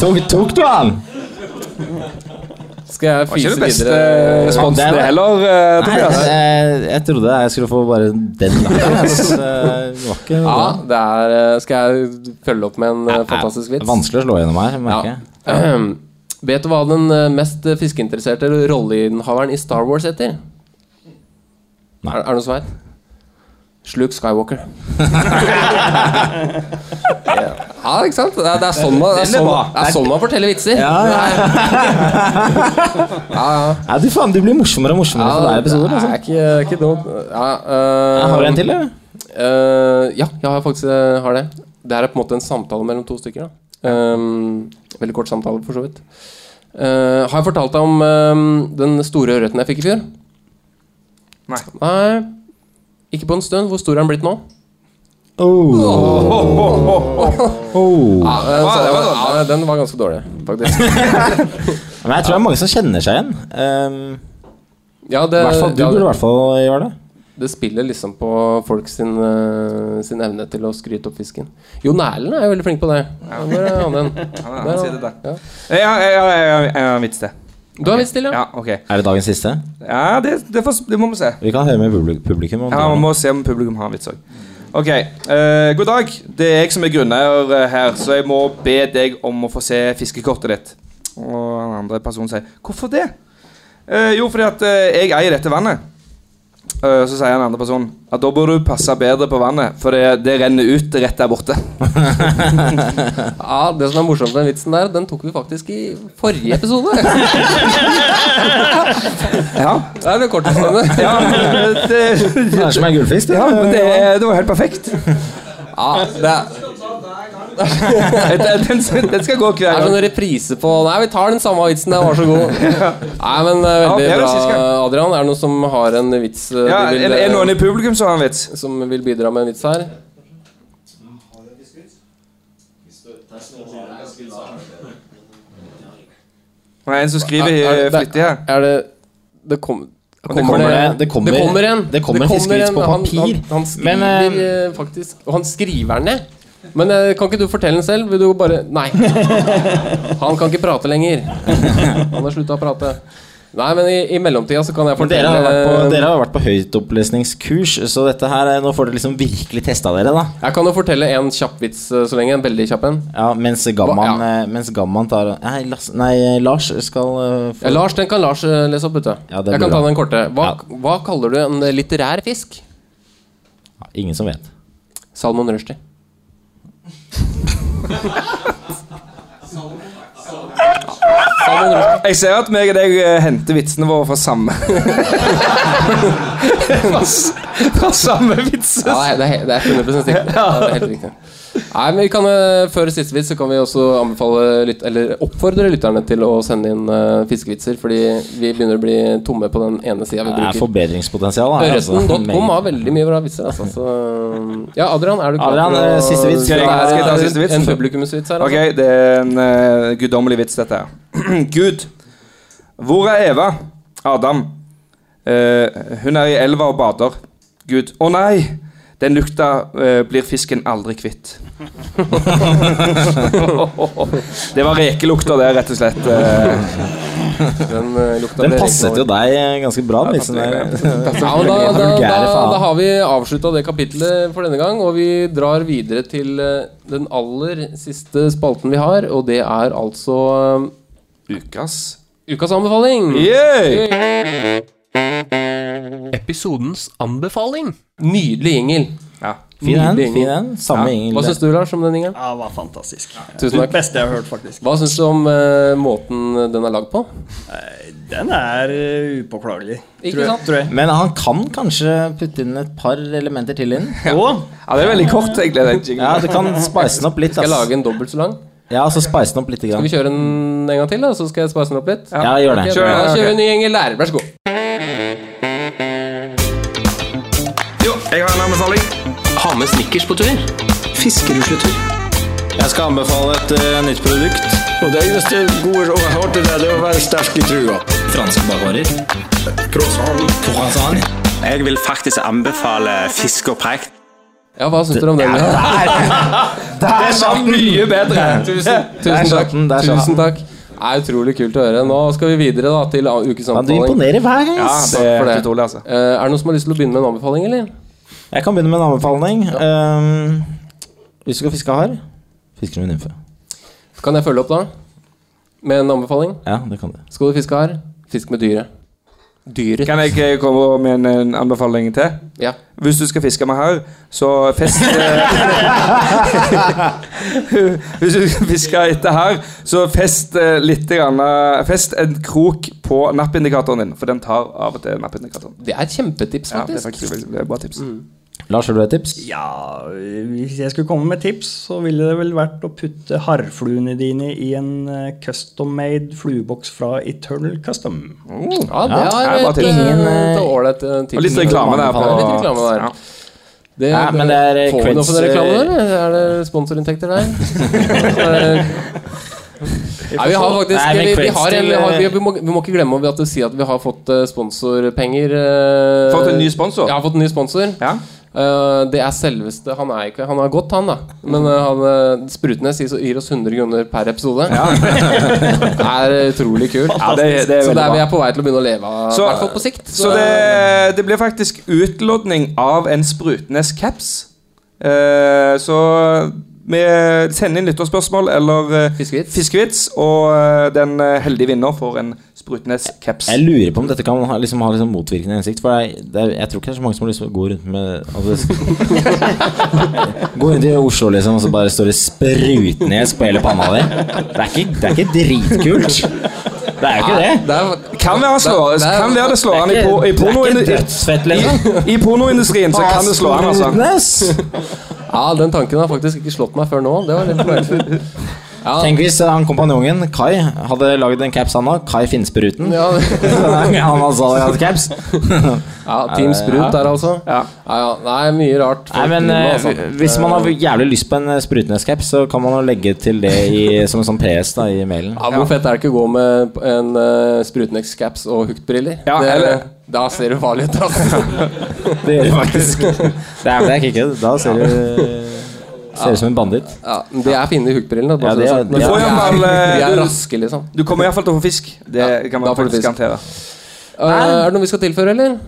Speaker 6: tok, tok du han?
Speaker 1: Skal jeg
Speaker 5: Var ikke
Speaker 1: fyse
Speaker 5: det beste
Speaker 1: videre?
Speaker 5: responsen
Speaker 6: Ja, det-
Speaker 5: det heller, eh,
Speaker 6: Nei,
Speaker 5: Tobias.
Speaker 6: jeg, jeg trodde jeg skulle få bare den. der, ass. Eh, Det var ikke
Speaker 1: Ja,
Speaker 6: bra.
Speaker 1: det er eh, Skal jeg følge opp med en eh, fantastisk vits?
Speaker 6: Vanskelig å slå gjennom her, merker
Speaker 1: Ja.
Speaker 6: jeg.
Speaker 1: Ahem. Vet du hva den eh, mest eh, fiskeinteresserte rolleinnehaveren i Star Wars heter?
Speaker 6: Nei.
Speaker 1: Er, er det noen som vet? Sluk Skywalker. ja, ikke sant? Det er, det er sånn man, det er sånn, det er sånn man forteller vitser.
Speaker 6: Nei, du faen, du blir morsommere og morsommere for hver episode.
Speaker 1: det
Speaker 6: Altså.
Speaker 1: er ikke, ikke dumt. Ja, eh,
Speaker 6: Har du en til, eller?
Speaker 1: Eh, ja, jeg har faktisk eh, har det. Det her er på en måte en samtale mellom to stykker. Da. Ehm, veldig kort samtale, for så vidt. Eh, har jeg fortalt deg om ehm, den store ørreten jeg fikk i fjor?
Speaker 10: Nei.
Speaker 1: Nei. Ikke på en stund. Hvor stor er den blitt nå?
Speaker 6: Oh.
Speaker 1: Ja, eh, så, ja, den var ganske dårlig, faktisk.
Speaker 6: Men jeg tror det er mange som kjenner seg igjen. Ehm,
Speaker 1: Ja, det,
Speaker 6: i hvert fall, du
Speaker 1: ja,
Speaker 6: burde i hvert fall gjøre det.
Speaker 1: det spiller liksom på folk sin, eh, sin evne til å skryte opp fisken. Jon Erlend er jo veldig flink på det. Der er han igjen. Der,
Speaker 5: sier det der.
Speaker 1: ja.
Speaker 5: Jeg har- jeg har- jeg har jeg har en vits til.
Speaker 1: Du har visst til, ja.
Speaker 5: Ja, ok.
Speaker 6: Er det dagens siste?
Speaker 5: Ja, det, det, får, det må vi se.
Speaker 6: Vi kan høre med publi- publikum. Om
Speaker 5: Ja, Man
Speaker 6: det.
Speaker 5: må se om publikum har en vits òg. Ok. eh, god dag. Det er jeg som er grunneier eh, her, så jeg må be deg om å få se fiskekortet ditt. Og den andre personen sier 'Hvorfor det?' Eh, jo, fordi at eh, jeg eier dette vannet. Eh, så sier den andre personen at da bør du passe bedre på vannet, for det, det renner ut rett der borte.
Speaker 1: Ja, Det som er morsomt med den vitsen der, den tok vi faktisk i forrige episode. Det
Speaker 5: Ja,
Speaker 1: er det korteste med det.
Speaker 5: ja eh, det,
Speaker 6: Det er som en gullfisk. det.
Speaker 5: ja, men det, det var helt perfekt.
Speaker 1: Ja, det er,
Speaker 5: Den, den- den skal gå
Speaker 1: det
Speaker 5: hver
Speaker 1: er
Speaker 5: gang.
Speaker 1: sånn reprise på Nei, vi tar den samme vitsen, den var så god. Nei, men eh,
Speaker 5: Ja, det
Speaker 1: veldig
Speaker 5: er det
Speaker 1: bra,
Speaker 5: sist gang.
Speaker 1: Adrian. Er det noen som har en vits eh,
Speaker 5: Ja,
Speaker 1: de
Speaker 5: er,
Speaker 1: vil,
Speaker 5: er det noen
Speaker 1: eh,
Speaker 5: i publikum som har en vits?
Speaker 1: som vil bidra med en vits her?
Speaker 5: Det er en som skriver
Speaker 1: Er- er-
Speaker 5: eh, flittig her.
Speaker 1: Er det Det kom, kommer,
Speaker 6: kommer
Speaker 1: det,
Speaker 6: det- det kommer-
Speaker 1: en.
Speaker 6: det kommer en fiskevits på
Speaker 1: Han- Han,
Speaker 6: papir.
Speaker 1: han skriver
Speaker 6: Men,
Speaker 1: eh, faktisk Og han skriver den ned. Men eh, kan ikke du fortelle den selv? Vil du bare Nei. Han kan ikke prate lenger. Han har slutta å prate. Nei, men i, i mellomtida så kan jeg
Speaker 6: Men dere
Speaker 1: fortelle
Speaker 6: har, vært på, dere har vært på høytopplesningskurs, så dette her, eh, nå får dere liksom virkelig testa dere. da
Speaker 1: Jeg kan jo fortelle en kjapp vits eh, så lenge. En veldig kjapp en.
Speaker 6: Ja, Mens Gamman,
Speaker 1: Hva-
Speaker 6: eh, mens gamman tar nei, Lasse, nei, eh, Lars skal eh,
Speaker 1: Ja,
Speaker 6: få
Speaker 1: Lars, den kan Lars eh, lese opp, vet du.
Speaker 6: Ja, det
Speaker 1: jeg
Speaker 6: blir
Speaker 1: kan ta
Speaker 6: bra.
Speaker 1: den korte. Hva,
Speaker 6: Ja.
Speaker 1: hva kaller du en litterær fisk?
Speaker 6: Ja, Ingen som vet.
Speaker 1: Salmon rushdie.
Speaker 5: Jeg ser at meg og deg eh, henter vitsene våre fra samme fra, s- fra samme vitser.
Speaker 1: Ja, nei, det er, he- det er 100 riktig. Ja, det er helt riktig. Nei, men vi kan, eh, Før siste vits så kan vi også anbefale lyt, eller oppfordre lytterne til å sende inn eh, fiskevitser, fordi vi begynner å bli tomme på den ene sida vi
Speaker 6: Det er
Speaker 1: bruker.
Speaker 6: forbedringspotensial. her, altså.
Speaker 1: Ørreten.com
Speaker 6: Meget.
Speaker 1: har veldig mye bra vitser. Altså, så, eh, ja, Adrian, er du klar
Speaker 6: Adrian,
Speaker 1: for
Speaker 6: eh, siste vits.
Speaker 1: Det
Speaker 5: Skal jeg- skal jeg ta
Speaker 1: er
Speaker 5: siste vits?
Speaker 1: En publikumsvits her.
Speaker 5: Ok,
Speaker 1: Altså.
Speaker 5: det er en eh, guddommelig vits, dette her. Gud, hvor er Eva? Adam. Eh, hun er i elva og bader. Gud, å nei! Den lukta eh, blir fisken aldri kvitt. det var rekelukta, det, rett og slett. eh.
Speaker 1: Den, eh, lukta
Speaker 6: Den
Speaker 1: ble
Speaker 6: passet
Speaker 1: riktig.
Speaker 6: jo deg eh, ganske bra. den vitsen der.
Speaker 1: Ja, men da,
Speaker 6: Den
Speaker 1: da, da,
Speaker 6: vulgære faen.
Speaker 1: da har vi avslutta det kapitlet for denne gang, og vi drar videre til eh, den aller siste spalten vi har, og det er altså eh,
Speaker 5: Ukas.
Speaker 1: Ukas anbefaling!
Speaker 5: Yeah!
Speaker 11: Episodens anbefaling.
Speaker 1: Nydelig jingle.
Speaker 8: Ja.
Speaker 6: Fin en, fin en. Samme yngel.
Speaker 1: Hva syns du, Lars, om den yngelen?
Speaker 8: Ja, var fantastisk.
Speaker 1: Tusen
Speaker 8: Det
Speaker 1: takk.
Speaker 8: beste jeg har hørt, faktisk.
Speaker 1: Hva syns du om eh, måten den er lagd på?
Speaker 8: Den er eh, upåklagelig. tror jeg- Tror jeg.
Speaker 6: Men han kan kanskje putte inn et par elementer til inn.
Speaker 8: Ja,
Speaker 5: det er veldig kort, egentlig. Den jinglen.
Speaker 6: Ja, du kan spice den opp litt.
Speaker 1: Skal jeg
Speaker 6: ass.
Speaker 1: lage en dobbelt så lang?
Speaker 6: Ja, så spice den opp litt.
Speaker 1: Skal
Speaker 6: Grann.
Speaker 1: vi kjøre den en gang til, da? Så skal jeg spase den opp litt?
Speaker 6: Ja, gjør det.
Speaker 1: Ok,
Speaker 6: Kjør
Speaker 1: da
Speaker 6: det,
Speaker 1: kjører vi en ny gjeng i lærer. Vær så god.
Speaker 11: Jo, jeg har en anbefaling. Ha med snickers på tur. Fiskerusletur.
Speaker 6: Jeg skal anbefale et eh, nytt produkt.
Speaker 3: Og det eneste gode jeg har til det, det er å være sterk i trua. Franske bakvarer. Croissant. Jeg vil faktisk anbefale fisk og prekt.
Speaker 1: Ja, hva syns dere om den?
Speaker 5: Der var mye bedre!
Speaker 1: Tusen, tusen takk. Tusen takk. Det er utrolig kult å høre. Nå skal vi videre da til a- ukesamtaling.
Speaker 6: Ja, du imponerer hver gang,
Speaker 1: Ja,
Speaker 6: ass.
Speaker 1: Ah, takk
Speaker 6: Det er
Speaker 1: for det.
Speaker 6: helt utrolig, altså.
Speaker 1: Eh, er det noen som har lyst til å begynne med en anbefaling, eller?
Speaker 6: Jeg kan begynne med en anbefaling. Ehm, hvis du skal fiske hard, fisker du med nymfe.
Speaker 1: Kan jeg følge opp, da? Med en anbefaling?
Speaker 6: Ja, det kan du.
Speaker 1: Skal du fiske her? Fisk med dyret. Dyret.
Speaker 5: Kan jeg eh, komme med en, en anbefaling til?
Speaker 1: Ja.
Speaker 5: Hvis du skal fiske med her, så fest eh, Hvis du skal fiske etter her, så fest eh, litt grann, eh, Fest en krok på nappindikatoren din, for den tar av og til nappindikatoren.
Speaker 1: Det er et kjempetips,
Speaker 5: Ja, det
Speaker 1: faktisk.
Speaker 5: er
Speaker 1: Mm.
Speaker 5: faktisk et veldig- veldig bra tips.
Speaker 6: Lars, har du et tips?
Speaker 8: Ja, Hvis jeg skulle komme med tips, så ville det vel vært å putte harrfluene dine i en eh, custom made flueboks fra Eternal Custom.
Speaker 1: Ja, det
Speaker 5: Ja,
Speaker 1: er
Speaker 5: det er bra
Speaker 1: et
Speaker 5: tips.
Speaker 1: eh,
Speaker 5: Ingen, eh,
Speaker 1: et ålreit eh, tips.
Speaker 5: Og litt reklame der på
Speaker 1: Ja, litt reklame der.
Speaker 5: Ja.
Speaker 1: Det,
Speaker 6: Ja, men det er, eh,
Speaker 1: får vi noe for den
Speaker 6: creds,
Speaker 1: reklamen,
Speaker 6: eh,
Speaker 1: eller? Er det sponsorinntekter der? Nei, vi har faktisk
Speaker 6: Nei, men
Speaker 1: vi, vi,
Speaker 6: creds
Speaker 1: har en, vi,
Speaker 6: til,
Speaker 1: har, vi,
Speaker 6: eh,
Speaker 1: vi, må, vi må ikke glemme at, å si at vi har fått eh, sponsorpenger. eh,
Speaker 5: Fått en ny sponsor?
Speaker 1: Ja, fått en ny sponsor.
Speaker 5: Ja.
Speaker 1: Eh, det er selveste Han er ikke Han har gått, han, da. Men eh, han, eh, Sprutnes gir, gir oss 100 kroner per episode. det er utrolig kult.
Speaker 5: Ja, det, det er
Speaker 1: så
Speaker 5: veldig
Speaker 1: der vi
Speaker 5: bra.
Speaker 1: er på vei til å begynne å leve av, i
Speaker 5: Så-
Speaker 1: hvert fall på sikt.
Speaker 5: Så det, det blir faktisk utlodning av en Sprutnes caps. Eh, så vi sender inn lytterspørsmål eller eh,
Speaker 1: Fiskevits.
Speaker 5: fiskevits, og eh, den eh, heldige vinner får en Sprutnes caps.
Speaker 6: Jeg lurer på om dette kan ha, liksom, ha liksom motvirkende hensikt. For jeg, det er, jeg tror ikke det er så mange som har lyst til å gå rundt med altså, Gå rundt i Oslo liksom, og så bare står det sprutnes på hele panna di. Det er ikke, det er ikke dritkult. Det er jo ikke det.
Speaker 1: Det er,
Speaker 5: Kan være, slå,
Speaker 1: Det- det er-
Speaker 5: kan være det slår an i,
Speaker 6: det er
Speaker 5: po, i,
Speaker 6: ikke-
Speaker 5: porno,
Speaker 6: det er ikke dødsfett, liksom.
Speaker 5: i, i pornoindustrien. Så kan det slå an, altså.
Speaker 6: Sprutnes!
Speaker 1: Ja, den tanken har faktisk ikke slått meg før nå. Det var litt fornøyelig.
Speaker 6: Tenk hvis eh, han kompanjongen, Kai, hadde lagd en caps han òg. Kai Finnspruten.
Speaker 1: Ja, det-
Speaker 6: han altså hadde hatt caps.
Speaker 1: ja, Team Sprut der, altså. Ja. Ja, Nei, mye rart. folk
Speaker 6: Nei, men
Speaker 1: driver med,
Speaker 6: eh,
Speaker 1: altså.
Speaker 6: Hvis man har jævlig lyst på en eh, Sprutnes-caps, så kan man jo legge til det i, som en sånn PS da, i mailen.
Speaker 1: ja, Hvor fett er det ikke å gå med en uh, Sprutnex-caps og Hooked-briller?
Speaker 5: Ja,
Speaker 1: Det-
Speaker 5: eller-
Speaker 1: Da ser du farlig ut, altså.
Speaker 6: Det gjør det faktisk. Det er, det er ikke kødd. Da ser du Ser ut som en banditt.
Speaker 1: Ja, men de er fine, de Hooked-brillene. bare
Speaker 6: Ja,
Speaker 1: for å
Speaker 6: de er-
Speaker 1: si det sånn. Men
Speaker 6: de er-
Speaker 1: de
Speaker 5: Får jeg en
Speaker 1: er-
Speaker 5: ball, eh,
Speaker 1: de er
Speaker 5: du-
Speaker 1: raske, liksom.
Speaker 5: Du kommer iallfall til å få fisk. Det
Speaker 1: Ja,
Speaker 5: kan
Speaker 1: da
Speaker 5: man
Speaker 1: får du
Speaker 5: faktisk
Speaker 1: fisk.
Speaker 5: garantere.
Speaker 1: Eh, er det noe vi skal tilføre, eller?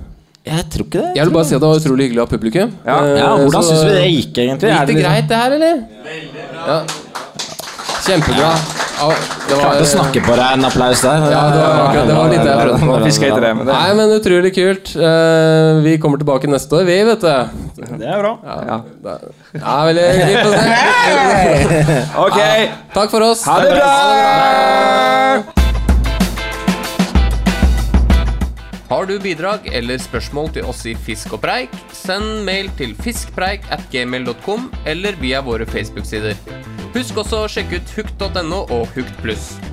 Speaker 6: Jeg tror ikke det.
Speaker 1: Jeg vil bare si at det var utrolig hyggelig av publikum.
Speaker 5: Ja.
Speaker 1: Eh,
Speaker 6: Ja, Hvordan
Speaker 1: så-
Speaker 6: syns vi det gikk, egentlig? Er
Speaker 1: Gikk det
Speaker 6: liksom-
Speaker 1: greit, det her, eller? Veldig bra. Ja. Kjempebra. Ja, det var,
Speaker 6: Klarte å snakke på deg en applaus der.
Speaker 1: Ja, det var akkurat- det var litt det jeg prøvde på.
Speaker 5: Fisker etter det, men det
Speaker 1: Nei, men utrolig kult. Eh, vi kommer tilbake neste år, vi, vet du.
Speaker 8: Det er bra.
Speaker 1: Ja, veldig hyggelig å se.
Speaker 5: OK,
Speaker 1: Takk for oss.
Speaker 5: ha det bra!
Speaker 11: Har du bidrag eller spørsmål til oss i Fisk og preik, send mail til fiskpreik at gmail.com eller via våre Facebook-sider. Husk også å sjekke ut hukt.no og Hukt pluss.